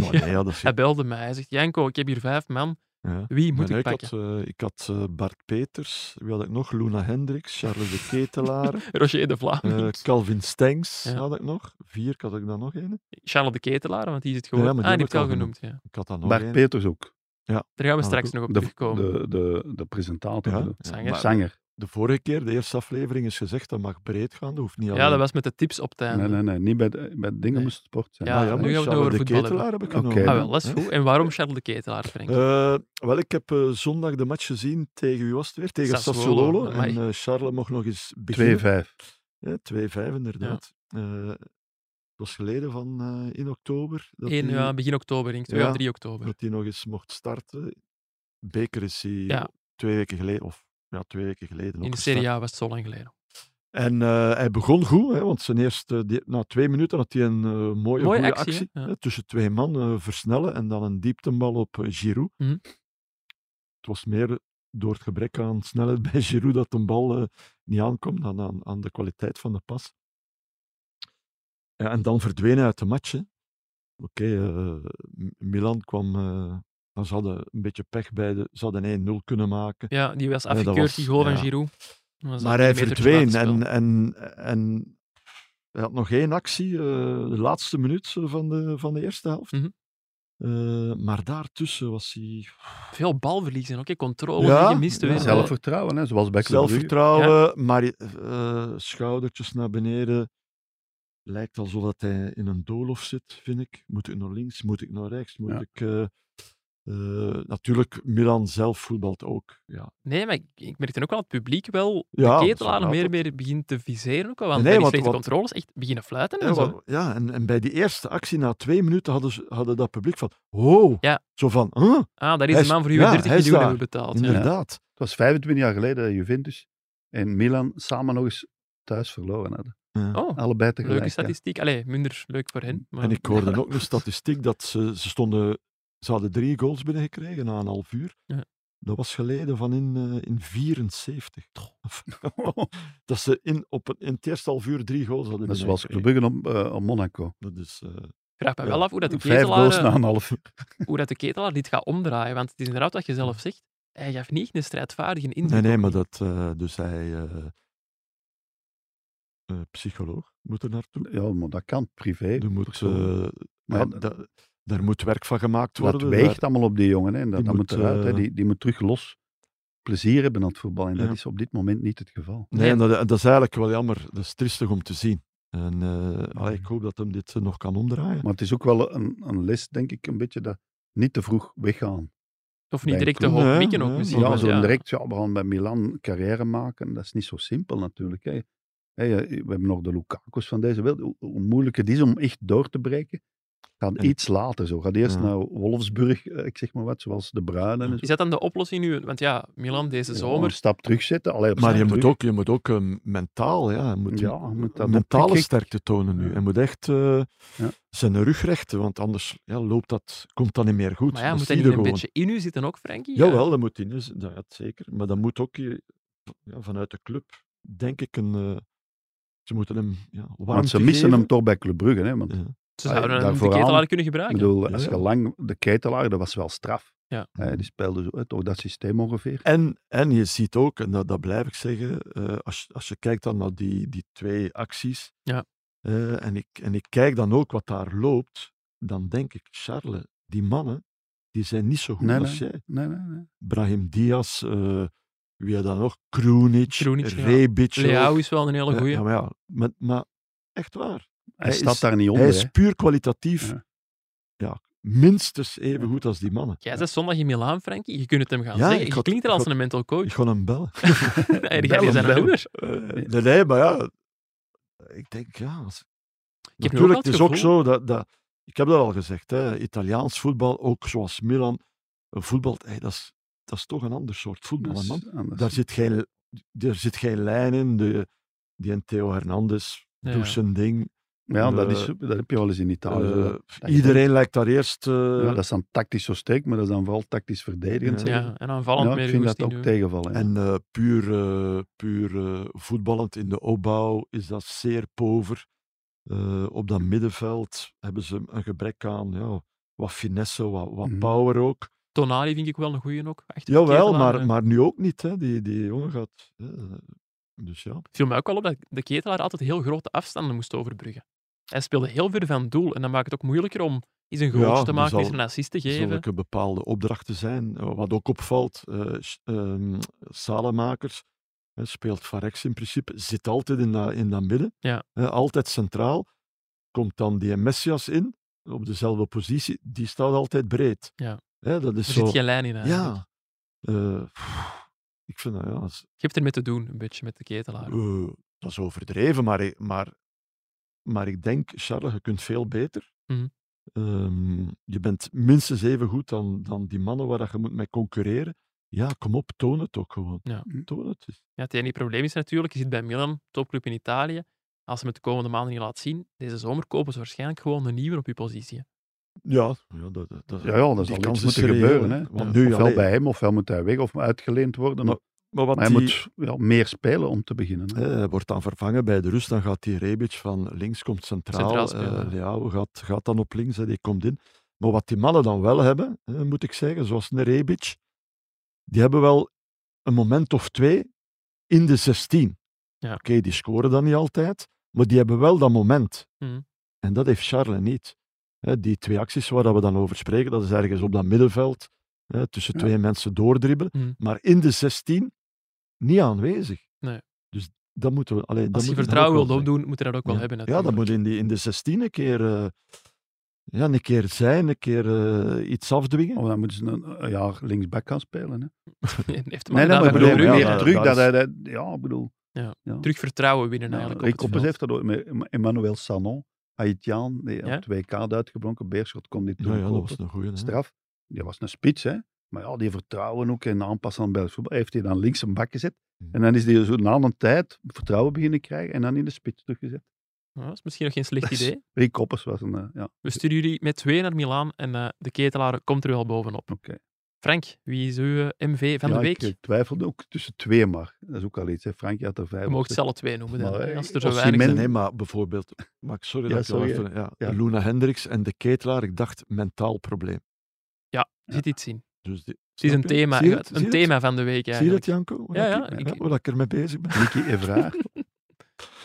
maar nee, ja, dat is...
Hij belde mij. Hij zegt, Janko, ik heb hier vijf man.
Ja.
Wie moet
Nee,
ik
ik,
pakken?
had, eh, ik had eh, Bart Peters, wie had ik nog? Luna Hendricks, Charles de Ketelaar,
Roger de Vlaam.
eh, Calvin Stengs
Ja.
had ik nog. Vier had ik dan nog één.
Charles de Ketelaar, want die is het gewoon.
Ja, maar die
ah, die
heb
heb
ik
ik al
al
genoemd. Ja.
Ik had dan nog
Bart
één.
Peters ook.
Ja.
Daar gaan we
Maar
straks
ook
nog op
De,
terugkomen.
de, de, de presentator,
Ja.
de
Zanger.
Maar
zanger.
de vorige keer, de eerste aflevering, is gezegd dat mag breed gaan. Dat hoeft niet
ja,
alleen-
dat was met de tips op het einde.
Nee, nee, nee. Niet bij, de- bij dingen
Nee.
moest het sport zijn.
Ja,
Ah,
nu
maar
gaan we het
Charles
over
de
voetbal
Ketelaar heb ik
Oké.
genomen.
Ah, wel, dat is
Hè?
goed. En waarom Charles de Ketelaar, Frank?
Eh, wel, ik heb eh, zondag de match gezien tegen, wie was het weer? Tegen
Sassuolo,
Sassuolo.
amai.
En eh, Charles mocht nog eens beginnen.
2-5.
Ja, 2-5, inderdaad. Eh, het was geleden van eh, in oktober. Dat
Eén,
hij-
ja, eh, begin oktober, denk ik. 2
Ja.
of 3 oktober.
dat hij nog eens mocht starten. Beker is hij
Ja.
twee weken geleden, of ja, twee weken geleden. ook
In de
gestart.
Serie A was het zo lang geleden.
En eh, hij begon goed, hè, want zijn eerste, eh, die- na twee minuten had hij een eh, mooie,
Mooie
goede
actie,
actie.
hè? Ja.
hè, tussen twee man eh, versnellen en dan een dieptebal op eh, Giroud.
Mhm.
Het was meer door het gebrek aan snelheid bij Giroud dat de bal eh, niet aankomt dan aan, aan de kwaliteit van de pas. Ja, en dan verdwenen uit de match. hè. Oké, eh, M- Milan kwam. eh, maar ze hadden een beetje pech bij de. Ze hadden 1-0 kunnen maken.
Ja, die was
Ja, Eh, dat
afgekeurd, die
was-
goal van
ja.
Giroud. Dat was
Maar
een
hij
metertje
verdween
buitenspel.
en, en, en hij had nog één actie, eh, de laatste minuut eh, van de, van de eerste helft.
Mhm.
Eh, maar daartussen was hij
Veel balverlies en ook, hè, controle,
Ja,
gemiste
ja.
weer.
Zelfvertrouwen, hè, zoals bij Club Brugge.
zelfvertrouwen, maar eh, schoudertjes naar beneden. Lijkt alsof dat hij in een doolhof zit, vind ik. Moet ik naar links, moet ik naar rechts, moet
Ja.
ik... eh, eh, natuurlijk, Milan zelf voetbalt ook. Ja,
Nee, maar ik, ik merkte ook wel dat het publiek wel de
Ja, dat
ketelaar
zal
meer en
altijd.
meer begint te viseren. Ook, al, want
Nee,
bij die
want-
slechte
want-
controles echt beginnen fluiten en
Ja,
zo.
wa- ja en, en bij die eerste actie, na twee minuten, hadden, ze, hadden dat publiek van... Oh!
Ja.
Zo van... huh,
Ah, daar is
Hij
een
is-
man voor u
ja,
30
hij is
miljoen
daar.
hebben betaald. Ja.
inderdaad.
Het was 25 jaar geleden dat Juventus en Milan samen nog eens thuis verloren hadden.
Oh,
Allebei tegelijk.
leuke
hè.
statistiek. Allee, minder leuk voor hen. Maar...
En ik hoorde ook een statistiek dat ze, ze stonden... Ze hadden drie goals binnengekregen na een half uur.
Ja.
Dat was geleden van in, eh, in 74. dat ze in, op een, in het eerste half uur drie goals hadden
Dat is zoals Club
binnengekregen.
Brugge op, eh, op Monaco.
Dat is... eh,
Ik vraag me
Ja.
wel af hoe dat, de
Vijf goals
ketelaar,
na
eh,
een half uur.
hoe dat de ketelaar dit gaat omdraaien. Want het is inderdaad wat je zelf zegt. Hij gaf niet een strijdvaardige indruk.
nee, nee,
ook
maar
niet.
dat... eh, dus hij... eh, eh, psycholoog moet er naartoe.
Ja, maar dat kan privé.
Er moet,
persoon.
eh,
Maar
ja,
dat-
da- daar moet werk van gemaakt worden.
Dat weegt allemaal op die jongen. Hè. en Dat,
Die
dat moet
moet,
eruit. Hè.
eh,
Die, die moet terug los plezier hebben aan het voetbal. En dat
Ja.
is op dit moment niet het geval.
Nee, en dat, dat is eigenlijk wel jammer. Dat is triestig om te zien. En eh, allee, ik hoop dat hem dit eh, nog kan omdraaien.
Maar het is ook wel een, een les, denk ik, een beetje dat niet te vroeg weggaan.
Of niet
bij
direct te
Club-
hoog
Nee,
mikken ook
nee,
misschien.
Ja,
want
zo direct, ja, we gaan bij Milan carrière maken. Dat is niet zo simpel natuurlijk. Hè. Hè, eh, we hebben nog de Lukaku's van deze wereld. Hoe, hoe moeilijk het is om echt door te breken, gaat
En-
iets later zo. Gaat eerst
Ja.
naar Wolfsburg, eh, ik zeg maar wat, zoals de Bruinen. en zo.
Is dat dan de oplossing nu? Want ja, Milan deze
Ja,
zomer.
een stap terugzetten. Allee, op
Maar je
stap
moet
terug.
ook, je moet ook eh, mentaal, ja, je moet
Ja, je moet dat
mentale
opkrikken.
sterkte tonen nu.
Ja.
Hij moet echt eh,
Ja.
zijn rug rechten, want anders ja, loopt dat, komt dat niet meer goed.
maar ja,
Dat
moet
zie
dat niet
je
een
gewoon.
beetje in u zitten ook, Frankie?
Jawel, dat moet in, dus, dat, ja, zeker. Maar dat moet ook je- ja, vanuit de club, denk ik, een, eh, ze moeten hem ja,
Want ze
warmte
missen
geven.
hem toch bij Club Brugge. Hè, want
Ja.
Ze
Ah,
zouden
Allee,
hem de
daar vooraan-
ketelaar kunnen
Ik
gebruiken.
bedoel,
Ja,
als je
ja.
lang de ketelaar, dat was wel straf.
Ja.
Hè, die speelde zo, hè, toch dat systeem ongeveer.
En, en je ziet ook, en dat, dat blijf ik zeggen, eh, als, als je kijkt dan naar die, die twee acties,
Ja.
eh, en, ik, en ik kijk dan ook wat daar loopt, dan denk ik, Charles, die mannen, die zijn niet zo goed
Nee,
als jij.
Nee, nee, nee.
Brahim Diaz, eh, wie had dan nog? Krunic,
Krunic, ja.
Rebic.
Leao
ook.
is wel een hele
Ja,
goeie.
ja, maar, ja, maar, maar echt waar,
Hij,
Hij
staat
is-
daar niet onder.
hij
hè.
is puur kwalitatief
Ja.
ja, minstens even goed als die mannen.
Jij zat zondag in Milaan, Frankie. Je kunt het hem gaan
Ja,
zeggen.
ik
Je
had-
klinkt er als
ik had-
een mental coach.
Ik ga hem bellen.
Hey, die
bel
gaat
hem,
zijn
bel hem.
nummer.
Eh, nee, nee, maar ja, eh, ik denk ja. Als...
heb nu ook wel
Natuurlijk,
het
het is ook
gevoel-
zo dat, dat ik heb dat al gezegd, hè, Italiaans voetbal, ook zoals Milan, eh, voetbal, hey, dat, is, dat is toch een ander soort voetbal,
Dus Dat
hè,
is
man.
anders.
Daar zit geen, daar zit geen lijn in. De, die en Theo Hernandez
Ja.
doet zijn ding.
ja, dat, is,
eh,
dat heb je wel eens in Italië.
Eh,
zo dat- dat je
iedereen lijkt daar eerst. eh,
denkt, ja, dat is dan tactisch zo steek, maar dat is dan vooral tactisch verdedigend.
Ja.
zeg.
Ja, en aanvallend
Ja,
meer
ik vind dat
goesting
ook
doen.
tegenvallen. hè.
En eh, puur, eh, puur eh, voetballend in de opbouw is dat zeer pover. Eh, op dat middenveld hebben ze een gebrek aan ja, wat finesse, wat, wat
Mhm.
power ook.
Tonali vind ik wel een goeie ook. Echt een
Jawel,
ketelaar, eh.
maar, maar nu ook niet. Hè. Die, die jongen gaat... eh, dus ja.
Het viel mij ook wel op dat de ketelaar altijd heel grote afstanden moest overbruggen. Hij speelde heel ver van doel en dat maakt het ook moeilijker om is een goals
Ja,
te
er
maken, is
zal-
er een assist te
Zullen
geven.
er bepaalde opdrachten zijn. Eh, Wat ook opvalt, eh, s- ehm, Salemakers hè, speelt Varex in principe, zit altijd in dat, in dat midden,
Ja.
hè, altijd centraal. Komt dan die Messias in, op dezelfde positie, die staat altijd breed.
Ja.
Hè, dat is
Er
zo.
zit geen lijn in eigenlijk.
ja. Eh, pff, ik vind dat, ja, dat is-
Je hebt ermee te doen, een beetje, met de ketelaar.
eh, dat is overdreven, maar, ik- maar, maar ik denk, Charles, je kunt veel beter.
Mhm.
Ehm, je bent minstens even goed dan, dan die mannen waar dat je moet mee concurreren. Ja, kom op, toon het ook gewoon.
Ja.
Mhm.
Toon het. eens.
Ja, het enige probleem is natuurlijk, je zit bij Milan, topclub in Italië. Als ze het de komende maanden niet laat zien, deze zomer kopen ze waarschijnlijk gewoon een nieuwe op je positie. hè.
Ja, ja, dat, dat, dat,
Ja, ja, dat
die
zal
kans
iets
is
moeten
reëel,
gebeuren. Hè.
Want nu,
ofwel
allee,
bij hem, ofwel moet hij weg of uitgeleend worden. Maar,
maar wat
hij
die,
moet ja, meer spelen om te beginnen. hè.
eh, hij wordt dan vervangen bij de rust, dan gaat die Rebic van links komt centraal.
Centraal spelen,
eh,
ja.
Leao gaat, gaat dan op links, hè, die komt in. Maar wat die mannen dan wel hebben, eh, moet ik zeggen, zoals een Rebic, die hebben wel een moment of twee in de 16.
Ja.
Oké, die scoren dan niet altijd, maar die hebben wel dat moment.
Mhm.
En dat heeft Charles niet. Hè, die twee acties waar dat we dan over spreken, dat is ergens op dat middenveld, hè, tussen
Ja.
twee mensen doordribbelen,
Mhm.
maar in de 16 niet aanwezig.
Nee.
Dus dat moeten we. Allee, dat
Als je
moet- dat
vertrouwen
ook
wilt
wel zijn.
opdoen, moet je dat ook wel hebben.
Ja, dat
natuurlijk.
moet in, die, in de 16 een keer, eh, ja, een keer zijn, een keer eh, iets afdwingen.
Of dan moeten ze een, een jaar linksback gaan spelen. Hè.
Heeft
Nee,
maar
nee,
gedaan
maar ik
bij
bedoel,
Club Brugge,
meer
ja,
hè.
dat-
druk
dat
dat
is-
hij... dat- Ja, ik bedoel...
Ja,
ja.
terug vertrouwen winnen
Ja,
eigenlijk.
Rick
op het
Oppes
veld.
heeft dat ooit met Emma- Emmanuel Sanon, Haitiaan, die
Ja?
op 2K uitgebronken. Beerschot kon dit
Ja,
doen.
ja, dat was een goeie.
Mhm.
hè.
Straf. Die was een spits, hè. Maar ja, die vertrouwen ook en aanpassen aan Belgisch voetbal. Hij Heeft hij dan links een bak gezet.
Mhm.
En dan is die zo na een tijd vertrouwen beginnen krijgen en dan in de spits teruggezet.
Ja, dat is misschien nog geen slecht
Dus
idee.
Rick Koppers was een... eh, ja,
We sturen jullie met twee naar Milaan en eh, de ketelaar komt er wel bovenop.
oké.
Frank, wie is uw eh, MV van
Ja,
de week?
Ik eh, twijfelde ook tussen twee, maar dat is ook al iets. Hè. Frank had er vijf.
Je
of
mag
zes.
zelf twee noemen. Dan,
Maar,
hè,
eh,
als er zo
als
weinig
Simen-
zijn.
En-
Nee, maar bijvoorbeeld, maar sorry
Ja,
dat ik jou
sorry,
even- ja,
Ja.
Luna Hendricks en de ketelaar, ik dacht mentaal probleem.
Zit iets in.
Dus die,
Het is een
snap je?
thema,
Zie je het? Zie je
een
het?
thema van de week
Zie je dat,
eigenlijk.
Janko? Waar,
Ja,
ik,
ja, ik-
waar ik ermee bezig ben.
Nicky Evraar.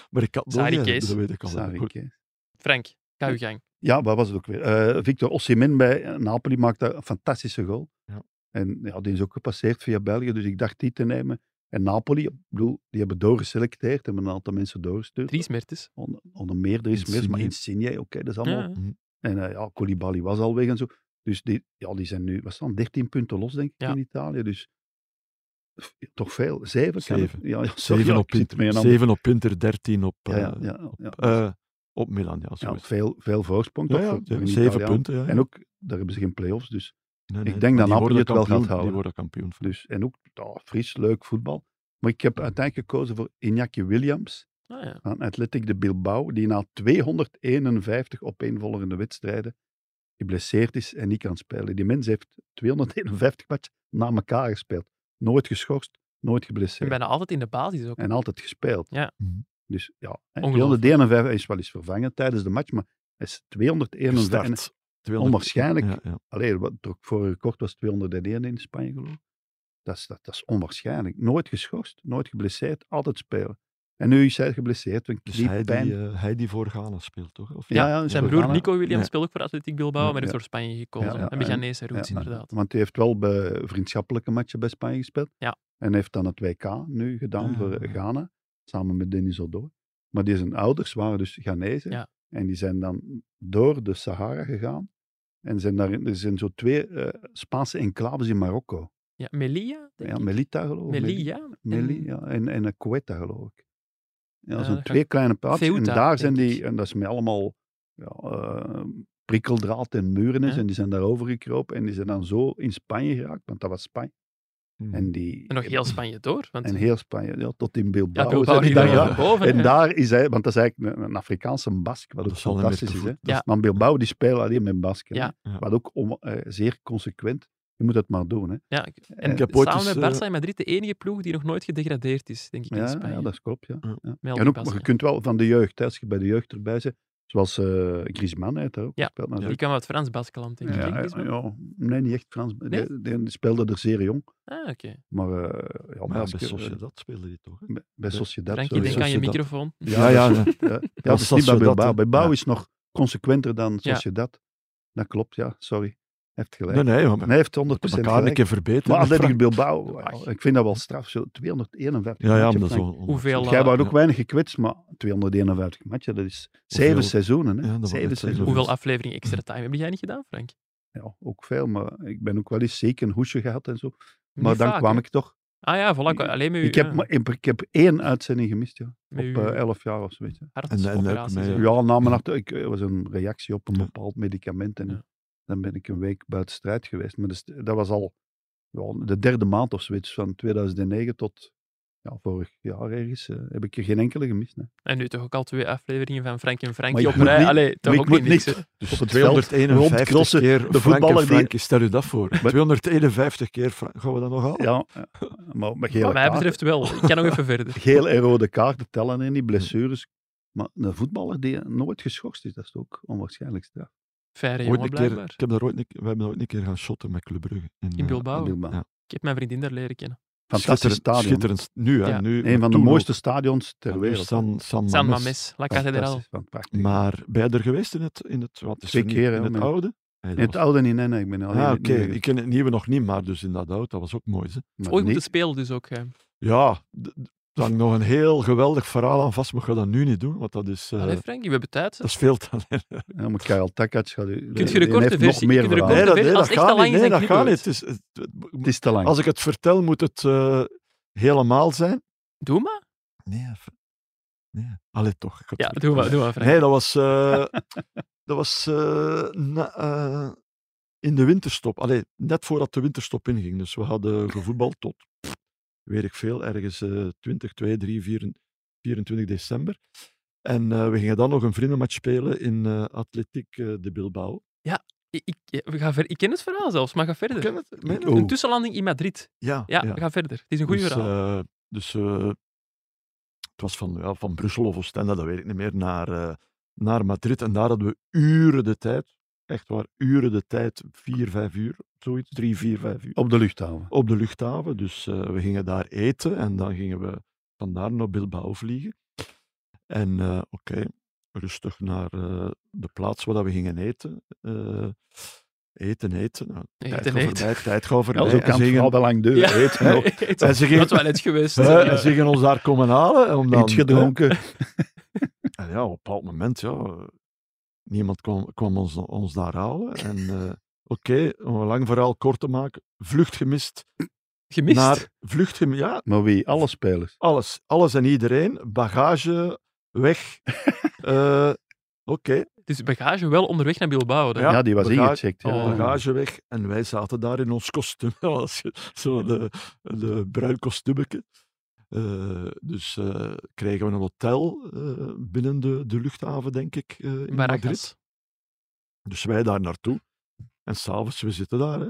Maar ik had nog
Sari
niet,
Kees.
dat weet ik al.
Sorry,
Goed.
Kees.
Frank, ga uw gang.
Ja, wat was het ook weer? Eh, Victor Osimhen bij eh, Napoli maakt daar een fantastische goal.
Ja.
En ja, die is ook gepasseerd via België, dus ik dacht die te nemen. En Napoli, ik bedoel, die hebben doorgeselecteerd, hebben een aantal mensen doorgestuurd.
Drie smertes.
Onder, onder meer, er is meer, maar
Insigne.
Insigne, oké, dat is allemaal...
Ja.
En eh, ja, Koulibaly was al weg en zo. Dus die, ja, die zijn nu, wat staan, 13 punten los, denk ik,
Ja.
in Italië. Dus f- toch veel. Zeven? kan
Zeven.
het- Ja, ja, sorry,
Zeven
ja,
op
ik zit met
Pinter,
een ander-
zeven op Pinter, 13 op,
Ja, ja,
eh,
ja, ja.
eh, op Milan. Ja, zo
Ja,
is het.
veel, veel voorsprong.
Ja,
toch,
ja,
voor- voor een
zeven
Italiaan.
punten. Ja, ja.
En ook, daar hebben ze geen play-offs, dus...
Nee,
Ik
nee,
denk dat
maar die
Napoli
worden
het wel gaat
kampioen,
houden.
Die worden kampioen. van-
Dus, en ook ja, fris, leuk voetbal. Maar ik heb uiteindelijk gekozen voor Iñaki Williams
Ah, ja.
van Athletic de Bilbao, die na 251 opeenvolgende wedstrijden geblesseerd is en niet kan spelen. Die mens heeft 251 matchen na elkaar gespeeld. Nooit geschorst, nooit
En
geblesseerd.
bijna altijd in de basis ook.
En altijd gespeeld.
Ja.
Mhm.
Dus ja, hè,
Ongelooflijk.
251 hij is wel eens vervangen tijdens de match, maar hij is 251. en-
Gestart. 200
Onwaarschijnlijk.
Ja, ja.
Allee, wat het vorige record was 201 in Spanje, geloof ik. Dat is, dat, dat is onwaarschijnlijk. Nooit geschorst, nooit geblesseerd, altijd spelen. En nu is hij geblesseerd, want
Dus hij die,
kniepijn.
eh, hij die voor Ghana speelt, toch? Of
Ja,
ja, ja,
zijn
ja.
broer
Ja.
Nico Williams
Ja.
speelt ook voor Atletiek Bilbao, maar heeft
Ja.
voor Spanje gekozen.
Ja, ja.
En Beganese roots,
Ja, nou,
inderdaad.
Want hij heeft wel bij vriendschappelijke matchen bij Spanje gespeeld.
Ja.
En heeft dan het WK nu gedaan
Ah.
voor Ghana, samen met Denis Odoi. Maar die zijn ouders waren dus Ghanese.
Ja.
En die zijn dan door de Sahara gegaan. En zijn daar, er zijn zo twee eh, Spaanse enclaves in Marokko.
Ja, Melia? denk
Ja,
ik.
Melita geloof ik.
Melia? en-
Melli ja, en, en een Quetta, geloof ik. Ja,
Ja,
zo'n
dat ga
twee
ik-
kleine plaatsen. en
Ah, Ceuta,
daar zijn
denk
die,
ik.
en dat is met allemaal ja, eh, prikkeldraad en muren is,
Ja.
en die zijn daarover gekropen en die zijn dan zo in Spanje geraakt, want dat was Spanje.
Hmm.
En, die,
En nog heel Spanje door. Want
En heel Spanje, ja, tot in Bilbao.
ja, Bilbao
zijn die
ligt daar
dan geraakt.
nog boven.
En
hè.
daar is hij, want dat is eigenlijk een, een Afrikaanse Bask, wat
Dat
ook
zal hem
fantastisch
weer
is.
te
Hè?
voet- dat-
Maar Bilbao die spelen alleen met Basken.
Ja.
hè.
Ja.
Wat ook om, eh, zeer consequent. Je moet dat maar doen. Hè?
Ja, ik- en
Ik
heb ooit
samen
eens,
met Barça
eh,
en Madrid de enige ploeg die nog nooit gedegradeerd is, denk ik, in
Ja,
Spanje.
ja, dat is klopt. Ja.
Ja.
Ja.
Met al
En
die
ook, maar
passen.
je kunt wel van de jeugd, hè, als je bij de jeugd erbij bent, zoals eh Griezmann heeft daar ook
Ja,
gespeeld.
Die
natuurlijk.
kwam uit Frans-Baskeland, denk ik.
Ja,
denk ik,
ja,
is maar-
ja, nee, niet echt Frans. Die-
Nee?
Die, speelde er zeer jong.
Ah, oké.
Maar eh ja,
Maar ja,
als
bij
je-
Sociedad speelde hij toch? hè?
bij- bij Sociedad.
Frank, ik
sowieso.
denk aan je
Sociedad.
microfoon.
Ja,
ja,
dat is- ja, dat is niet bij
Sociedad,
Bilbao.
hè.
Bilbao
Ja.
is nog consequenter dan Sociedad. Dat klopt, ja. Sorry. Hij heeft gelijk.
Nee, nee, maar
Nee, hij heeft 100%
elkaar een
gelijk.
keer verbeteren.
Maar
met
Atletico
Frank.
Bilbao, wauw, ik vind dat wel straf. Zo 251
Ja, ja,
matchen,
maar dat is
Frank.
wel-
Hoeveel,
Jij
eh,
wou ook
Ja.
weinig gekwetst, maar 251 matchen, dat is zeven
Hoeveel-
seizoenen. Hè?
Ja, dat wou ik
zeven
net zeggen.
seizoenen.
hoeveel afleveringen extra time heb jij niet gedaan, Frank?
Ja, ook veel, maar ik ben ook wel eens zeker een hoesje gehad en zo.
Niet
Maar dan
vaak,
kwam
hè?
ik toch.
Ah ja, voilà, alleen met uw,
Ik heb,
ja,
maar, ik, ik heb één uitzending gemist, ja.
met
Op
uw
eh, 11 jaar of zoiets. hè.
hartoperaties,
En- en ook
hè.
met-
Ja, na mijn achter, ik, eh, was een reactie op een
Ja.
bepaald medicament. En
Ja.
dan ben ik een week buiten strijd geweest. Maar dus, dat was al ja, de derde maand of zoiets, van 2009 tot ja, vorig jaar ergens, eh, heb ik er geen enkele gemist. Nee.
En nu toch ook al twee afleveringen van Frank en
Maar
Frankie
ik
op
moet
rij.
niet-
Allee, toch
ik
ook
moet
niet niks.
niet-
hè.
Dus op het veld
251
rondkrossen,
keer
de
Frank en
voetballer die-
Frankie, stel u dat voor.
Maar-
251 keer Frank, gaan we dat nog halen?
Ja, eh, maar met gele,
Wat mij
kaarten,
betreft wel. Ik kan nog even verder.
gele en rode kaarten tellen en die blessures. Maar een voetballer die nooit geschorst is, dat is ook onwaarschijnlijk straf.
Fijne
Ooit
jongen,
een keer,
blijkbaar.
ik heb daar ooit een, we hebben ooit een keer gaan shotten met Club Brugge. En,
In
eh,
Bilbao.
Adil Ba.
ja.
Ik heb mijn vriendin daar leren kennen.
Fantastisch
schitterend,
stadion.
Schitterend. Nu, hè,
Ja.
nu.
Een
maar
van de
toen
mooiste
ook.
stadions ter
Nu
wereld.
San, San,
San
Mames.
Mames, La Catedral.
Fantastisch, van prachtig.
Maar ben je er geweest in het, in het wat is
Twee
er nu?
keer, hè,
in het
maar-
oude? Nee, dat
In het
was-
oude niet, nee, nee, ik ben al
Ah,
heel-
oké.
nee,
Ik ken het nieuwe nog niet, maar dus in dat oude, dat was ook mooi. Hè?
maar
Ooit
nee.
moeten spelen dus ook. hè.
Eh. Ja, d- d- daar hangt nog een heel geweldig verhaal aan vast, maar ik ga dat nu niet doen, want dat is, eh,
Allee, Frankie, we hebben tijd.
dat is veel te
Ja, maar Karel Takac gaat u...
Kunt je
die
de korte
heeft
versie-
Nog meer
kunt je de
verhalen.
korte-
Oh. dat,
ver- als
dat
het echt
gaat
te lang
niet.
is,
Nee,
dan
dat gaat niet.
knippen
Het is, het- het-
Het is te lang.
als ik het vertel, moet het eh, helemaal zijn.
Doe maar.
Nee, even- nee. Allee, toch. ik ga het
Ja,
weer-
doe maar, doe maar Frank.
Nee, dat was, eh, dat was eh, na- eh, in de winterstop. Allee, net voordat de winterstop inging. Dus we hadden gevoetbald tot, pff, weet ik veel, ergens eh 20, 2, 3, 4, 24 december. En eh, we gingen dan nog een vriendenmatch spelen in eh Atletiek eh, de Bilbao.
Ik, ik, ja, we gaan ver- ik ken het verhaal zelfs, maar ga verder.
Ken het? Meen je
Oeh.
het?
Een tussenlanding in Madrid.
Ja,
Ja, we gaan verder. Het is een goed
dus,
verhaal.
eh, dus eh, het was van, ja, van Brussel of Oostende, dat weet ik niet meer, naar, eh, naar Madrid. En daar hadden we uren de tijd, echt waar, uren de tijd, vier, vijf uur, zoiets, drie, vier, vijf uur,
Op de luchthaven.
op de luchthaven. Dus eh, we gingen daar eten en dan gingen we vandaar naar Bilbao vliegen. En eh, oké, rustig naar eh, de plaats waar dat we gingen eten. Eh, eten, eten. Nou, tijd
Eten,
gaat
eten.
voorbij, tijd gaat
Ja,
voorbij.
zo
En
kan
ze
het
gingen-
verhaal wel lang deuren.
Ja.
Eten nog.
en ze gingen-
Dat wel net geweest.
Oh. Hè,
eh,
en ze gingen ons daar komen halen. Om dan, Eh,
Iets gedronken.
En ja, op een bepaald moment, ja, niemand kwam, kwam ons, ons daar halen. En eh, oké, om een lang verhaal kort te maken, vlucht gemist.
Gemist.
Naar vlucht gemist, ja,
Maar wie? Alle spelers.
alles. Alles en iedereen, bagage, weg. Eh, oké,
Dus bagage wel onderweg naar Bilbao. Dan.
Ja,
Ja, die was
bagage-
ingecheckt. Ja.
Oh,
bagage weg. En wij zaten daar in ons kostuum, als je- zo de, de bruin kostuumetje. Eh, dus eh, kregen we een hotel eh, binnen de, de luchthaven, denk ik, eh, in Madrid.
Barajas.
Dus wij daar naartoe. En s'avonds, we zitten daar. Hè.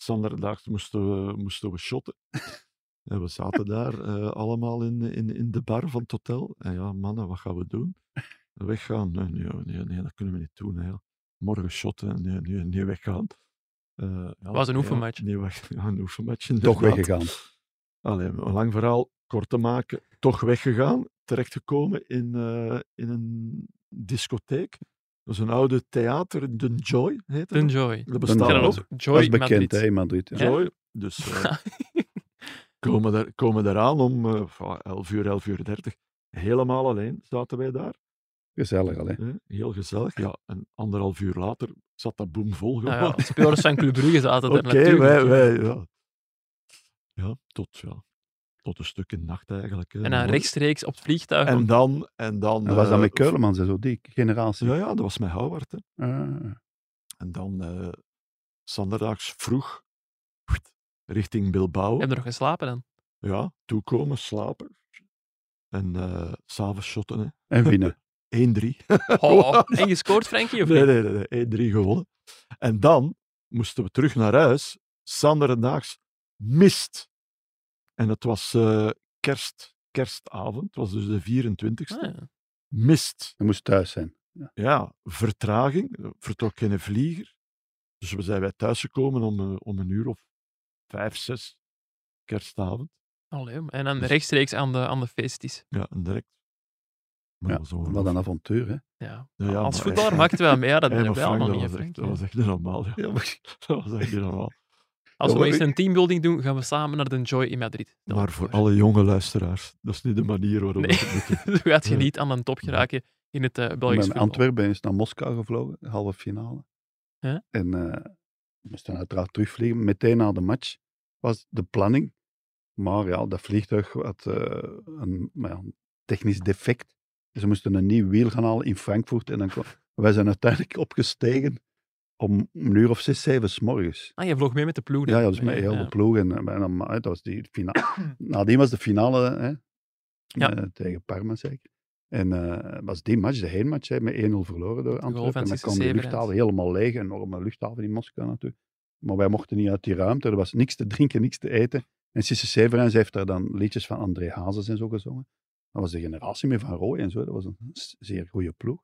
Standaardaags moesten we, moesten we shotten. En we zaten daar eh, allemaal in, in, in de bar van het hotel. En ja, mannen, wat gaan we doen? Weggaan? Nee, nee, nee, nee dat kunnen we niet doen. Hè. ja. Morgen shotten, nee, nee, nee weggaan. Eh, ja,
Was een
ja,
oefenmatch.
nee, weg, ja, een oefenmatch.
Toch
inderdaad.
weggegaan.
Allee, om een lang verhaal kort te maken. Toch weggegaan, terechtgekomen in, eh, in een discotheek. Dat is een oude theater, De Joy heette
Den
het.
Joy.
Dat
Joy.
bestaat
Kennen
nog.
we Dat
Joy
is bekend,
Madrid.
hè, in Madrid. Ja.
Ja.
Joy. Dus eh, komen, daar, komen eraan om eh, van 11 uur, 11 uur 30. Helemaal alleen zaten wij daar.
Gezellig al, hè.
hè. Heel gezellig. Ja, en anderhalf uur later zat dat boom vol.
Nou
gewoon.
ja, spelers van Club Brugge zaten
Oké,
er natuurlijk.
wij, wij, ja. Ja, tot, ja, tot een stuk in de nacht eigenlijk. hè.
En dan
Mooi.
rechtstreeks op het vliegtuig.
En dan... En dan
En was dat
eh,
met Keulemans en zo, die generatie.
Ja, ja, dat was met Howard. Hè.
Ah.
En dan eh zondags vroeg pfft, richting Bilbao.
Hebben we nog geslapen dan?
Ja, toekomen, slapen. En eh s'avonds shotten, hè.
En winnen.
1-3.
Oh, en gescoord, Frankie? Of
Nee,
niet?
nee, nee, nee, 1-3 gewonnen. En dan moesten we terug naar huis. Sanderdaags mist. En het was eh, kerst, kerstavond. Het was dus de 24ste.
Ah, ja.
Mist.
Je moest thuis zijn.
Ja, vertraging. Er vertrok geen vlieger. Dus we zijn wij thuisgekomen om, eh, om een uur of vijf, zes. Kerstavond.
Allee, en dan rechtstreeks aan de, aan de feestjes.
Ja, en direct Maar
Ja,
dat was ongelooflijk.
Wat een avontuur, hè?
Ja.
Ja, ja,
Als
maar echt.
voetballer maakt wel mee, ja, dat
Ja, maar
hebben we
Frank,
allemaal niet. hè,
dat, was
Frank,
echt, dat
ja.
was echt niet normaal. Ja. dat was echt niet normaal.
Als we
maar
eens
ik-
een teambuilding doen, gaan we samen naar de Joy in Madrid. Stel
Maar
je
voor alle jonge luisteraars, dat is niet de manier waarop
Nee.
we het moeten.
Zo gaat je
Ja.
niet aan de top geraken in het eh Belgisch
Met
voetbal.
Antwerpen is naar Moskou gevlogen, halve finale.
Ja.
En eh moest dan uiteraard terugvliegen. Meteen na de match was de planning. Maar ja, dat vliegtuig had eh, een, maar ja, een technisch defect. Dus ze moesten een nieuw wiel gaan halen in Frankfurt. En dan kwam- wij zijn uiteindelijk opgestegen om een uur of zes, zeven s morgens.
Ah, je vloog mee met de ploeg.
Ja,
dan.
ja, dus met heel de ploeg. En, eh, en dan, eh, dat was die finale. Nadien was de finale hè,
Ja.
eh, tegen Parma, zeker. En eh was die match, de heenmatch, hè, met 1-0 verloren door Antwerpen.
van
En dan
Cisse
kwam de
Severens.
luchthaven helemaal leeg, een enorme luchthaven in Moskou natuurlijk. Maar wij mochten niet uit die ruimte, er was niks te drinken, niks te eten. En Sisse Severens heeft daar dan liedjes van André Hazes en zo gezongen. Dat was de generatie meer van Roy en zo, dat was een s- zeer goede ploeg.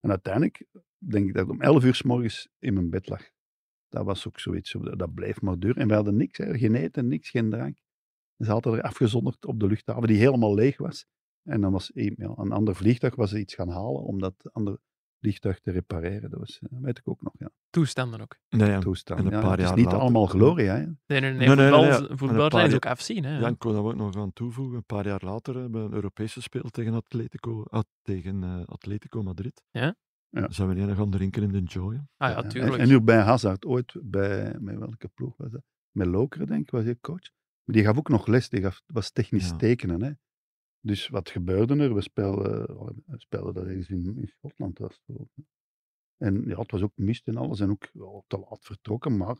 En uiteindelijk denk ik dat ik om 11 uur s morgens in mijn bed lag. Dat was ook zoiets, zo, dat dat bleef maar duur. En we hadden niks, hè. geen eten, niks, geen drank. En Ze hadden er afgezonderd op de luchthaven, die helemaal leeg was. En dan was een, ja, een ander vliegtuig was iets gaan halen om dat andere vliegtuig te repareren. Dat was, eh, weet ik ook nog, ja.
Toestanden ook.
Nee, ja.
Toestand.
en een
ja.
paar
het is
jaar
niet
later-
allemaal glorie, hè.
Nee, nee, nee,
Nee, nee, nee,
voetbal,
ja.
voetbal-
En een
voetbal
paar
is
jaar-
ook afzien. Hè.
Ja, ik kon daar ook nog aan toevoegen. Een paar jaar later hebben we een Europese speel tegen Atletico, ah, tegen, eh, Atletico Madrid.
Ja?
Ja.
Zijn we niet gaan drinken in de Joy? hè?
ah, ja,
Ja,
tuurlijk.
Eh, En, en nu bij Hazard, ooit bij, met welke ploeg was dat? Met Lokeren, denk ik, was hij coach. Maar die gaf ook nog les, die gaf, was technisch
Ja.
tekenen. Hè? Dus wat gebeurde er? We speelden, oh, we speelden dat eens in, in Schotland. Was het geloof ik. en ja, het was ook mist en alles en ook wel te laat vertrokken, maar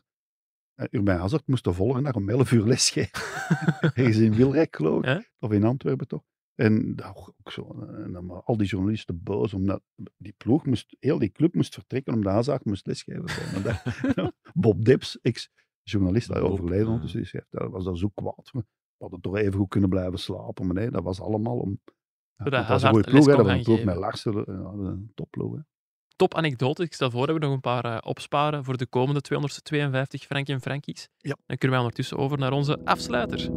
eh, Urbain Hazard moest de volgende dag om 11 uur lesgeven. Ergens in Wilrijk, geloof ik.
Ja.
Of in Antwerpen, toch? En, dat ook ook zo, eh, en dan waren al die journalisten boos, omdat die ploeg moest, heel die club moest vertrekken, omdat Hazard moest lesgeven. volgende dag. Bob Dips, ex-journalist, die
Bob,
overleden
ja.
ondertussen, die schrijft, dat was dan zo kwaad. We hadden toch even goed kunnen blijven slapen, maar nee, dat was allemaal om... Ja,
Zodat
want dat was een
Hazard les
goede ploeg, hè,
kon
dat was een
gaan
ploeg
geven.
met Larsen, eh, ja, dat was een topploeg. hè.
Top anekdote. Ik stel voor dat we nog een paar eh, opsparen voor de komende 252 Frank en Frankies.
Ja.
Dan kunnen wij ondertussen over naar onze afsluiter.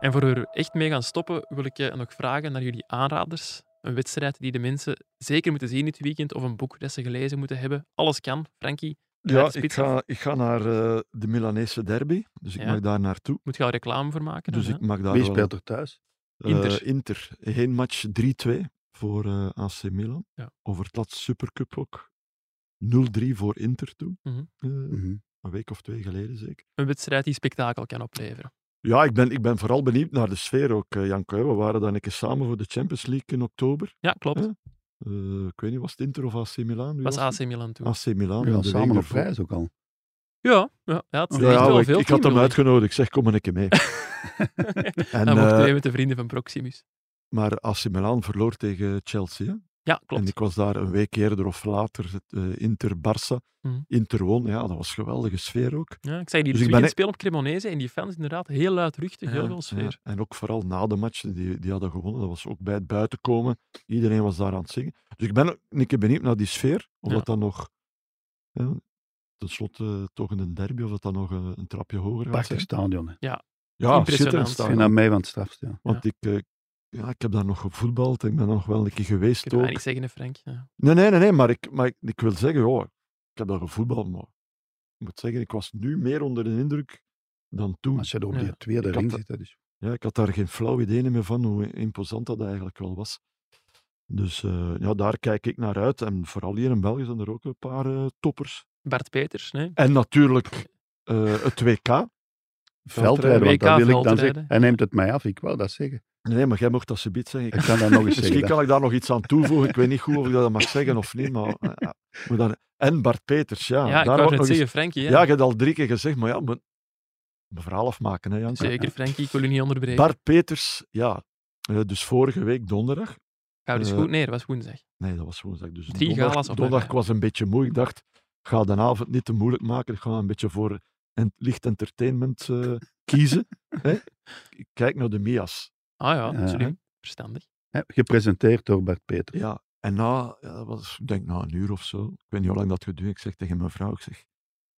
En voor we er echt mee gaan stoppen, wil ik eh, nog vragen naar jullie aanraders. Een wedstrijd die de mensen zeker moeten zien dit weekend, of een boek dat ze gelezen moeten hebben. Alles kan, Frankie. Ja,
Ja,
de
ik
spits
ga, ik ga naar eh, de Milanese derby. Dus ik
Ja.
mag daar naartoe.
Moet je al reclame voor maken? dan,
Dus
hè?
ik mag daar
Wie
wel-
speelt er thuis?
eh,
Inter.
Inter. Heen match 3-2 voor eh, AC Milan.
Ja.
Over het laatste Supercup ook. 0-3 voor Inter toen.
Mhm.
Eh,
Mhm.
een week of twee geleden zeker.
Een wedstrijd die spektakel kan opleveren.
Ja, ik ben, ik ben vooral benieuwd naar de sfeer ook, eh, Janke. We waren dan een keer samen voor de Champions League in oktober.
Ja, klopt.
Ja, Eh, ik weet niet, was het Inter of AC Milan? Wie
was
het?
AC Milan toen.
AC Milan.
Ja,
en de week
samen op
ervoor-
reis ook al.
Ja, ja, ja het is
Ja,
echt
ja,
wel
ik,
veel
ik had hem
teambuilding.
uitgenodigd. Ik Zeg, kom maar een keer mee. en,
Hij mocht
eh,
mee met de vrienden van Proximus.
maar AC Milan verloor tegen Chelsea. hè.
Ja, klopt.
En ik was daar een week eerder of later, het, eh, Inter-Barça.
Mhm.
Inter won, ja, dat was een geweldige sfeer ook.
Ja, ik zag die
Dus
dus
ik ben e-
spelen op Cremonese en die fans inderdaad heel luidruchtig, heel
Ja,
veel
Eh, ja.
sfeer.
En ook vooral na de match, die, die hadden gewonnen. Dat was ook bij het buitenkomen. Iedereen was daar aan het zingen. Dus ik ben ook een keer benieuwd naar die sfeer. Of
Ja.
dat dan nog, ja, tenslotte toch in een derby, of dat dan nog eh, een trapje hoger gaat
Prachtig
zijn.
stadion. hè.
Ja,
Impressionant.
schitterend
Ik vind
staan.
dat mee van het strafste. Ja.
Want ik, eh, ja, ik heb daar nog gevoetbald. Ik ben daar nog wel een keer geweest
Ik kan
ook.
het niet zeggen, hè, Frank. Ja.
Nee, nee, nee, nee maar, ik, maar ik, ik wil zeggen, joh, ik heb daar gevoetbald. Maar ik moet zeggen, ik was nu meer onder de indruk dan toen.
Als je er op
Ja.
die tweede
Ik had
ring
dat-
zit, dus dat is...
Ja, ik had daar geen flauw idee meer van hoe imposant dat eigenlijk wel was. Dus eh, ja, daar kijk ik naar uit. En vooral hier in België zijn er ook een paar eh, toppers.
Bart Peters, nee?
En natuurlijk eh, het WK.
Veldrijden, want
WK
dat wil ik dan
veldrijden.
zeggen. Hij neemt het mij af, ik wou dat zeggen.
Nee, maar jij mocht dat subiet zeggen.
Ik kan dat nog eens
Misschien
zeggen.
kan ik daar nog iets aan toevoegen. Ik weet niet goed of ik dat mag zeggen of niet. Maar, eh, ja. Maar dan- en Bart Peters, ja.
ja, ik
daar
wou net
ook nog eens-
zeggen, Frankie. Ja.
Ja, je hebt al drie keer gezegd, maar ja, moet- mijn verhaal afmaken, hè, Jan.
Zeker, Frankie, ik wil u niet onderbreken.
Bart Peters, ja. Eh, dus vorige week donderdag
Ik hou dus
eh,
goed neer, was woensdag.
Nee, dat was woensdag. Dus
Drie
donderdag,
gala's op
donderdag
rij.
was een beetje moe. Ik dacht, ik ga de avond niet te moeilijk maken. Ik ga een beetje voor en, licht entertainment eh, kiezen. Hè? Ik kijk naar de Mias.
Ah ja,
Ja.
slim. Verstandig.
Hè, Gepresenteerd door Bart Peter.
Ja. En na, ja, dat was, ik denk na een uur of zo, ik weet niet hoe lang dat geduurd, ik zeg tegen mijn vrouw, ik zeg,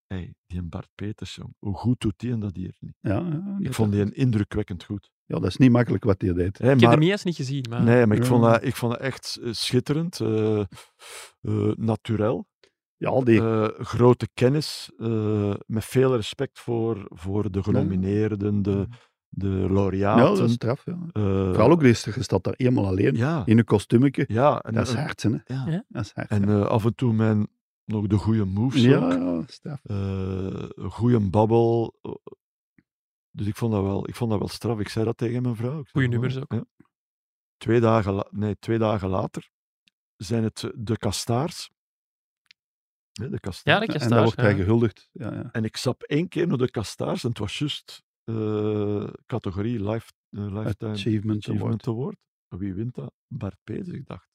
hey, die een Bart Peters, jong, hoe goed doet die en dat hier niet?
Ja, ja,
Ik vond die een indrukwekkend goed.
ja, dat is niet makkelijk wat hij deed.
Hey,
Ik heb
maar-
de Mias niet gezien, maar
Nee, maar ik
Ja.
vond dat, ik vond dat echt eh, schitterend. eh eh, naturel.
Ja, die,
eh, grote kennis. eh, met veel respect voor, voor de genomineerden, de, de
ja, Nou, dat
laureaten.
is straf. Ja.
eh,
Vooral ook deze gesteld daar helemaal alleen,
Ja,
in een kostuumetje.
ja. En,
Dat is
en-
hard, hè.
ja.
Ja.
Dat is hard.
en eh, af en toe mijn, nog de goede moves.
ja,
ook.
ja, straf.
eh, een goede babbel. eh, Dus ik vond, dat wel, ik vond dat wel straf. Ik zei dat tegen mijn vrouw. Ik zei,
Goeie
"Goh,
nummers ook."
ja." Twee, dagen la- nee, twee dagen later zijn het eh, de Kastaars. Nee, de
ja,
Kastaars.
dat
en daar
je
wordt hij
staan.
gehuldigd. Ja, ja.
En ik zat één keer naar de Kastaars en het was juist eh, categorie life, eh, Lifetime Achievement,
Achievement Award.
Award. Wie wint dat? Bart Peters. Ik dacht,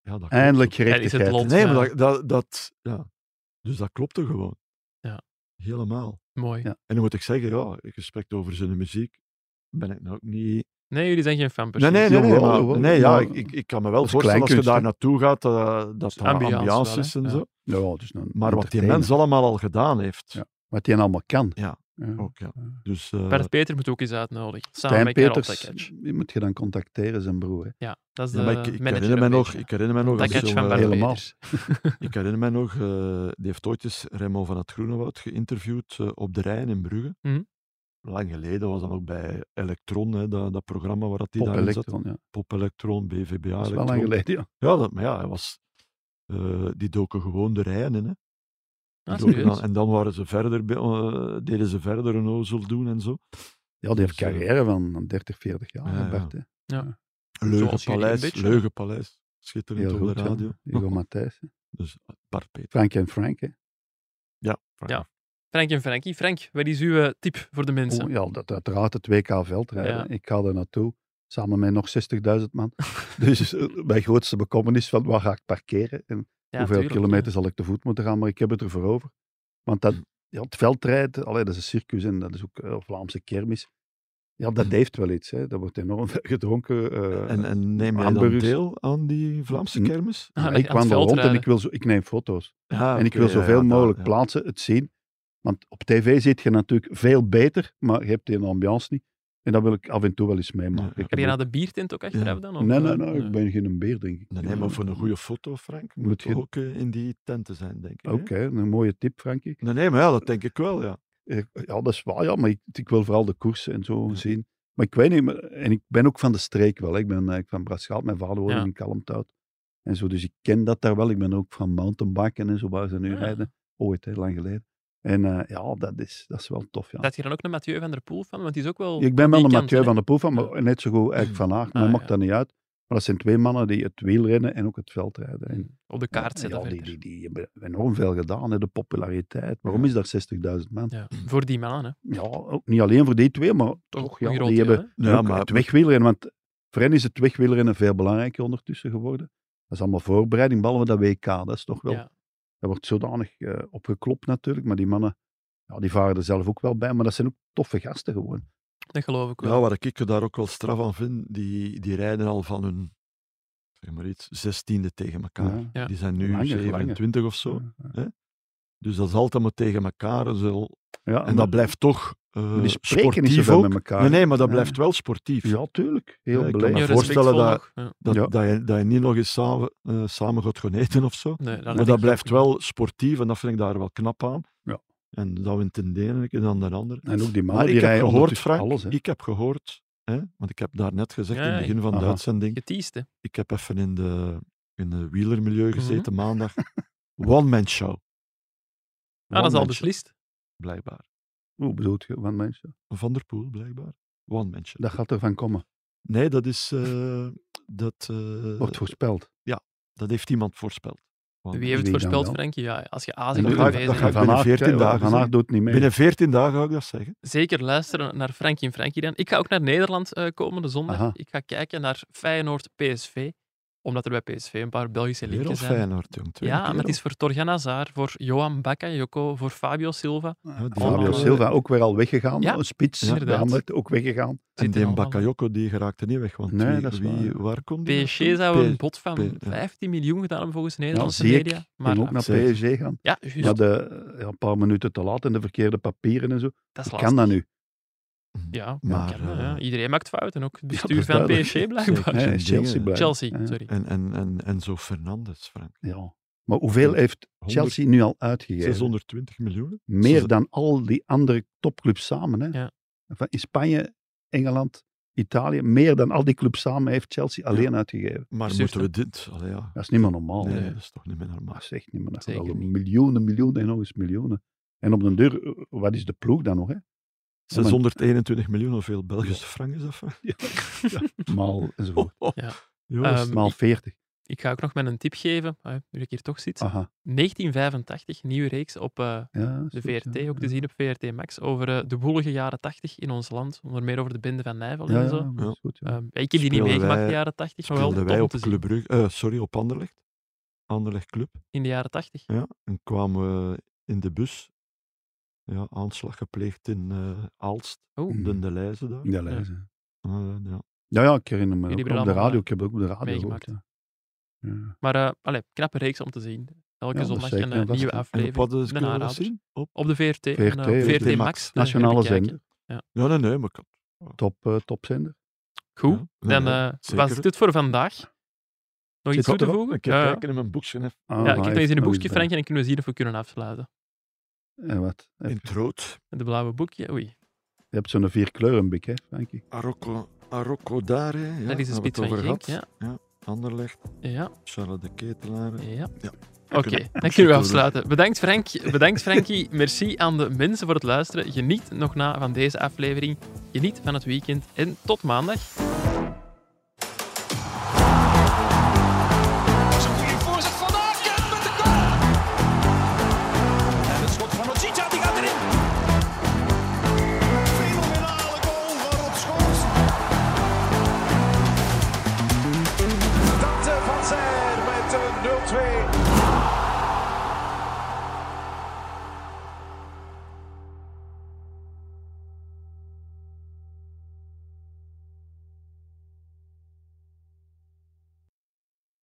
ja, dat klopt
Eindelijk
toch.
Ja, die is het land.
gerechtigheid.
Nee, maar
Ja.
dat, dat, dat- ja. Dus dat klopte gewoon.
Ja.
Helemaal.
Mooi.
Ja.
En dan moet ik zeggen, ja, in gesprek over zijn muziek ben ik nou ook niet...
Nee, jullie zijn geen fan
Nee,
precies.
nee, nee. nee,
Jawel,
maar-
jawel.
nee ja,
Maar-
ik, ik, ik kan me wel
is
voorstellen als je
kleinkunst,
daar
hè?
naartoe gaat, eh, dat
is
daar
ambiance
ambiance,
wel, hè?
is en
Ja.
zo.
Ja, ja, het is een
Maar wat die
entertainer.
mens allemaal al gedaan heeft.
Ja. Wat die allemaal kan.
Ja, Ook, ja. Dus, eh,
Bart Peter moet ook eens uitnodigen. Samen
Stijn
met Karel
Peters
Tekatch.
die moet je dan contacteren, zijn broer. hè.
Ja, dat is de
ja, maar ik, ik,
eh, manager
herinner mij
een
nog,
beetje.
ik herinner mij nog, als
Tekatch
zo'n,
van
eh,
Bart
helemaal.
Peters.
ik herinner mij nog, eh, die heeft ooit eens Remo van het Groenewoud geïnterviewd eh, op de Rijn in Brugge.
Mhm.
Lang geleden was dat ook bij Electron, hè, dat, dat programma waar dat die
Pop
daarin zat.
Electron, ja.
Pop Electron, BVBA
Dat is wel
Electron.
lang geleden, ja.
Ja, dat, maar ja, hij was, eh, die doken gewoon de Rijn in. Hè. Die
Ah,
doken
serieus?
dan- en dan waren ze verder, be- eh, deden ze verder een ozel doen en zo.
Ja, die heeft
Dus, eh,
een carrière van van 30, 40 jaar,
ja,
hè,
ja.
Bart. hè.
Zoals jullie
Leugenpaleis,
een beetje, hè?
Leugenpaleis. Schitterend
Heel
op
goed,
de
ja.
radio.
Hugo Matthijs. hè.
Dus Bart Peter.
Frank en Frank, hè.
Ja,
Ja. Frank en Frankie. Frank, wat is uw eh, tip voor de mensen?
Oh, ja, dat uiteraard het WK veldrijden.
Ja.
Ik ga daar naartoe, samen met nog 60.000 man. dus eh, mijn grootste bekommernis van waar ga ik parkeren en
Ja,
hoeveel
tuurlijk,
kilometer zal ik te voet moeten gaan, maar ik heb het ervoor over. Want dat, ja, het veldrijden, allee, dat is een circus en dat is ook eh, Vlaamse kermis. Ja, dat heeft wel iets. Hè. Dat wordt enorm veel gedronken. eh,
En, en neem jij dan
hamburgers.
deel aan die Vlaamse
Hm.
kermis?
ja. Ah,
ik
aan het
wandel rond en
veldrijden.
ik, wil zo, ik neem foto's.
Ja,
en ik
oké,
wil
ja,
zoveel
ja,
mogelijk
ja.
plaatsen, het zien. Want op tv zit je natuurlijk veel beter, maar je hebt die ambiance niet. En dat wil ik af en toe wel eens meemaken.
Ja, ja.
Heb
Ik
je
heb
naar de biertent ook achteraf
Ja.
dan? of,
ook- Nee,
eh,
nee, nee, ik ben geen beer, denk ik.
Nee, nee, maar voor een goede foto, Frank,
Moet
moet
je-
je ook eh, in die tenten zijn, denk ik. hè?
Oké, een mooie tip, Frankie.
Nee, nee, maar ja, dat denk ik wel, ja.
Eh, Ja, dat is waar, ja, maar ik, ik wil vooral de koersen en zo zien. Maar ik weet niet, maar- en ik ben ook van de streek wel. hè. Ik ben eigenlijk van Braschaat, mijn vader woonde
Ja.
in Kalmthout. En zo, dus ik ken dat daar wel. Ik ben ook van mountainbiken en zo, waar ze nu
Ah.
rijden. Ooit, hè, lang geleden. En eh, ja, dat is, dat is wel tof, ja.
Dat je dan ook een Mathieu van der Poel van, want die is ook wel.
Ik ben wel
die
een
kant,
Mathieu
hè?
van der Poel van, maar net zo goed eigenlijk Van Aert. Maar
Ah,
maakt
ja.
dat niet uit. Maar dat zijn twee mannen die het wielrennen en ook het veldrijden. En,
Op de kaart zetten.
ja, die,
verder.
die, die hebben enorm veel gedaan, hè, de populariteit. Waarom is daar 60.000 man? Ja.
Ja, voor die mannen, hè?
ook niet alleen voor die twee, maar toch, ja,
Een groot
die
deel,
hebben
hè?
Ja,
ook
maar-
het wegwielrennen. Want voor hen is het wegwielrennen veel belangrijker ondertussen geworden. Dat is allemaal voorbereiding, behalve dat WK. Dat is toch wel...
Ja.
Dat wordt zodanig eh, opgeklopt natuurlijk, maar die mannen... Ja, die varen er zelf ook wel bij, maar dat zijn ook toffe gasten gewoon.
Dat geloof ik wel.
Ja, wat ik daar ook wel straf aan vind, die, die rijden al van hun, zeg maar iets, zestiende tegen elkaar.
Ja.
Ja.
Die zijn nu
Langer,
27 of zo.
Ja, ja.
Dus dat is altijd maar tegen elkaar. en zo.
Ja,
En dat blijft toch eh,
Ah, maar die spreken
sportief
niet zoveel
ook.
met elkaar.
Nee, nee, maar dat
Ja.
blijft wel sportief.
Ja, tuurlijk. Heel
Ja, ik kan
beleefd.
me
Ja,
voorstellen
respectvol
dat-
nog. Ja.
Dat,
Ja.
Dat, je, dat je niet nog eens samen, eh, samen gaat gaan eten of zo.
Nee, dat
maar
denk
dat
ik
blijft
ook.
wel sportief en dat vind ik daar wel knap aan.
Ja.
En dat wint ten de ene en dan de andere.
En ook die mannen
Maar
die
ik heb
rijden
gehoord,
ondertussen
Frank,
alles. Hè.
ik heb gehoord, hè, want ik heb daar net gezegd
Ja,
in het begin van de
Aha.
uitzending,
Geteased, hè?
ik heb even in de, in de wielermilieu
Mhm.
gezeten maandag. One-man show,
Ah, dat is al
One-man
beslist.
blijkbaar.
Hoe bedoel je? Want mensen,
Van der Poel, blijkbaar. One-man show.
dat gaat ervan komen.
Nee, dat is... eh, dat, eh,
Wordt voorspeld.
dat heeft iemand voorspeld. One
Wie heeft het
Wie dan
voorspeld,
wel?
Frankie? Ja, als je A
En
zegt,
dat
doe
ga
het
ik- dat ga ik
bezig.
binnen
Aert-
14 dagen
Van Aert
zijn.
doet niet mee.
Binnen 14 dagen ga ik dat zeggen.
Zeker luisteren naar Frankie en Frankie dan. Ik ga ook naar Nederland eh, komende zondag.
Aha.
Ik ga kijken naar Feyenoord PSV Omdat er bij PSV een paar Belgische
Weer
linken
op
zijn.
Feyenoord, jong. Twee
Ja,
keer
maar het
op.
is voor Torgan Hazard, voor Johan Bakayoko, voor Fabio Silva.
Ja, die
Fabio
allemaal,
Bakayoko-
eh,
Silva ook weer al weggegaan.
ja,
een spits,
Ja. inderdaad.
Mohamed, ook weggegaan.
En
Zitten
die
allemaal.
Bakayoko, die geraakte niet weg. Want
Nee,
wie,
dat is
wie-
waar.
waar kon die
PSG
naartoe?
zou een
P-
bod
P-
van
ja.
15 miljoen gedaan hebben volgens de Nederlandse
zie ik.
media. Maar
Maar ook naar
Zeker.
PSG gaan.
ja, juist,
Maar de, ja, een paar minuten te laat en de verkeerde papieren en zo.
dat is
Kan
lastig.
dat nu?
Mhm.
Ja,
Maar,
kan, ja.
eh,
iedereen maakt fouten, ook het
dat
bestuur
is
van
duidelijk.
PSG blijkbaar.
Zeker.
Nee,
zijn
Chelsea
dingen.
blijft.
Chelsea,
Ja.
sorry.
En, en, en, en zo Fernandes, Frank.
Ja. Maar hoeveel heeft
100
Chelsea nu al uitgegeven?
620 miljoen.
Meer dan al die andere topclubs samen. Hè?
Ja.
Van in Spanje, Engeland, Italië. Meer dan al die clubs samen heeft Chelsea alleen uitgegeven.
Maar
Zucht,
moeten
hè?
we dit... Allee, ja.
Dat is niet meer normaal.
nee,
nee.
dat is toch niet meer normaal.
Maar zeg niet meer. Dat gaat
Zeker
al om
niet.
miljoenen, miljoenen en nog eens miljoenen. En op den deur, eh, wat is de ploeg dan nog? Hè?
621 miljoen, hoeveel Belgische frank is dat? Frank?
Maal, enzovoort.
Jongens,
Ehm,
Maal 40.
Oh, Ik ga ook nog met een tip geven, eh, nu ik hier toch zit.
Aha.
1985, nieuwe reeks op eh,
Ja,
de
goed,
VRT,
ja.
ook te zien op VRT Max, over eh, de woelige jaren 80 in ons land. Onder meer over de bende van Nijvel
Ja,
en zo.
ja, maar is goed, ja.
Ehm, ja, ik heb die niet
Speelden
meegemaakt in
wij-
de jaren 80, maar wel
speelden
tof
wij
om
op
te zien.
Club Brugge, eh, sorry, op Anderlecht. Anderlecht Club.
In de jaren 80.
Ja, en kwamen we in de bus. Ja, aanslag gepleegd in eh Aalst,
Oh,
Mm.
in de lijzen daar.
Ja, lezen.
Eh, ja.
Ja, ja, ik herinner me.
Jullie
Ook
hebben
op de
allemaal,
radio.
eh,
Ik heb het ook op de radio gehoord.
meegemaakt.
Ja. Ja.
Maar eh allee, knappe reeks om te zien. Elke
Ja, dat
zondag
zeker
een
en
eh,
vast.
nieuwe
En op
En op
aflevering.
wat is
Een
kunnen we dat
aanrader.
zien? Op?
Op de VRT, en, eh,
VRT,
op VRT,
VRT
Max.
Max.
eh,
Nationale
bekijken.
zender.
Ja, nee, nee, maar ik had-
Top, eh, topzender.
Goed,
Ja, nee,
dan
nee,
eh,
zeker.
was dit het voor vandaag. Nog iets
Zit
toe
het
te
erop?
voegen? Eh,
Ik heb
Ja, ja.
kijken in mijn boekje, hè.
Ah,
Ja,
maar
ik heb
hij
dat eens in
heeft
een
nog
boekje,
iets bij.
Frankje, en dan kunnen we zien of we kunnen afsluiten.
En wat? Heb-
in het rood.
De blauwe boekje, oei.
Je hebt zo'n vierkleurenbik, hè, Frankie?
Arocco, Arocco Dare. Ja,
dat is de
hebben we
spits
het
van
over
Genk.
gehad.
Ja,
Anderlecht,
ja,
Charlotte de Ketelaar.
ja.
Ja.
Oké, dan kunnen we afsluiten. Bedankt, Frank. Bedankt, Frankie. Merci aan de mensen voor het luisteren. Geniet nog na van deze aflevering. Geniet van het weekend en tot maandag.
Zo'n goede voorzet van Aken met de goal. En het schot van Ochita, die gaat erin.
Fenomenale goal van Rob Schoors. Dat eh, van zijn met de 0-2.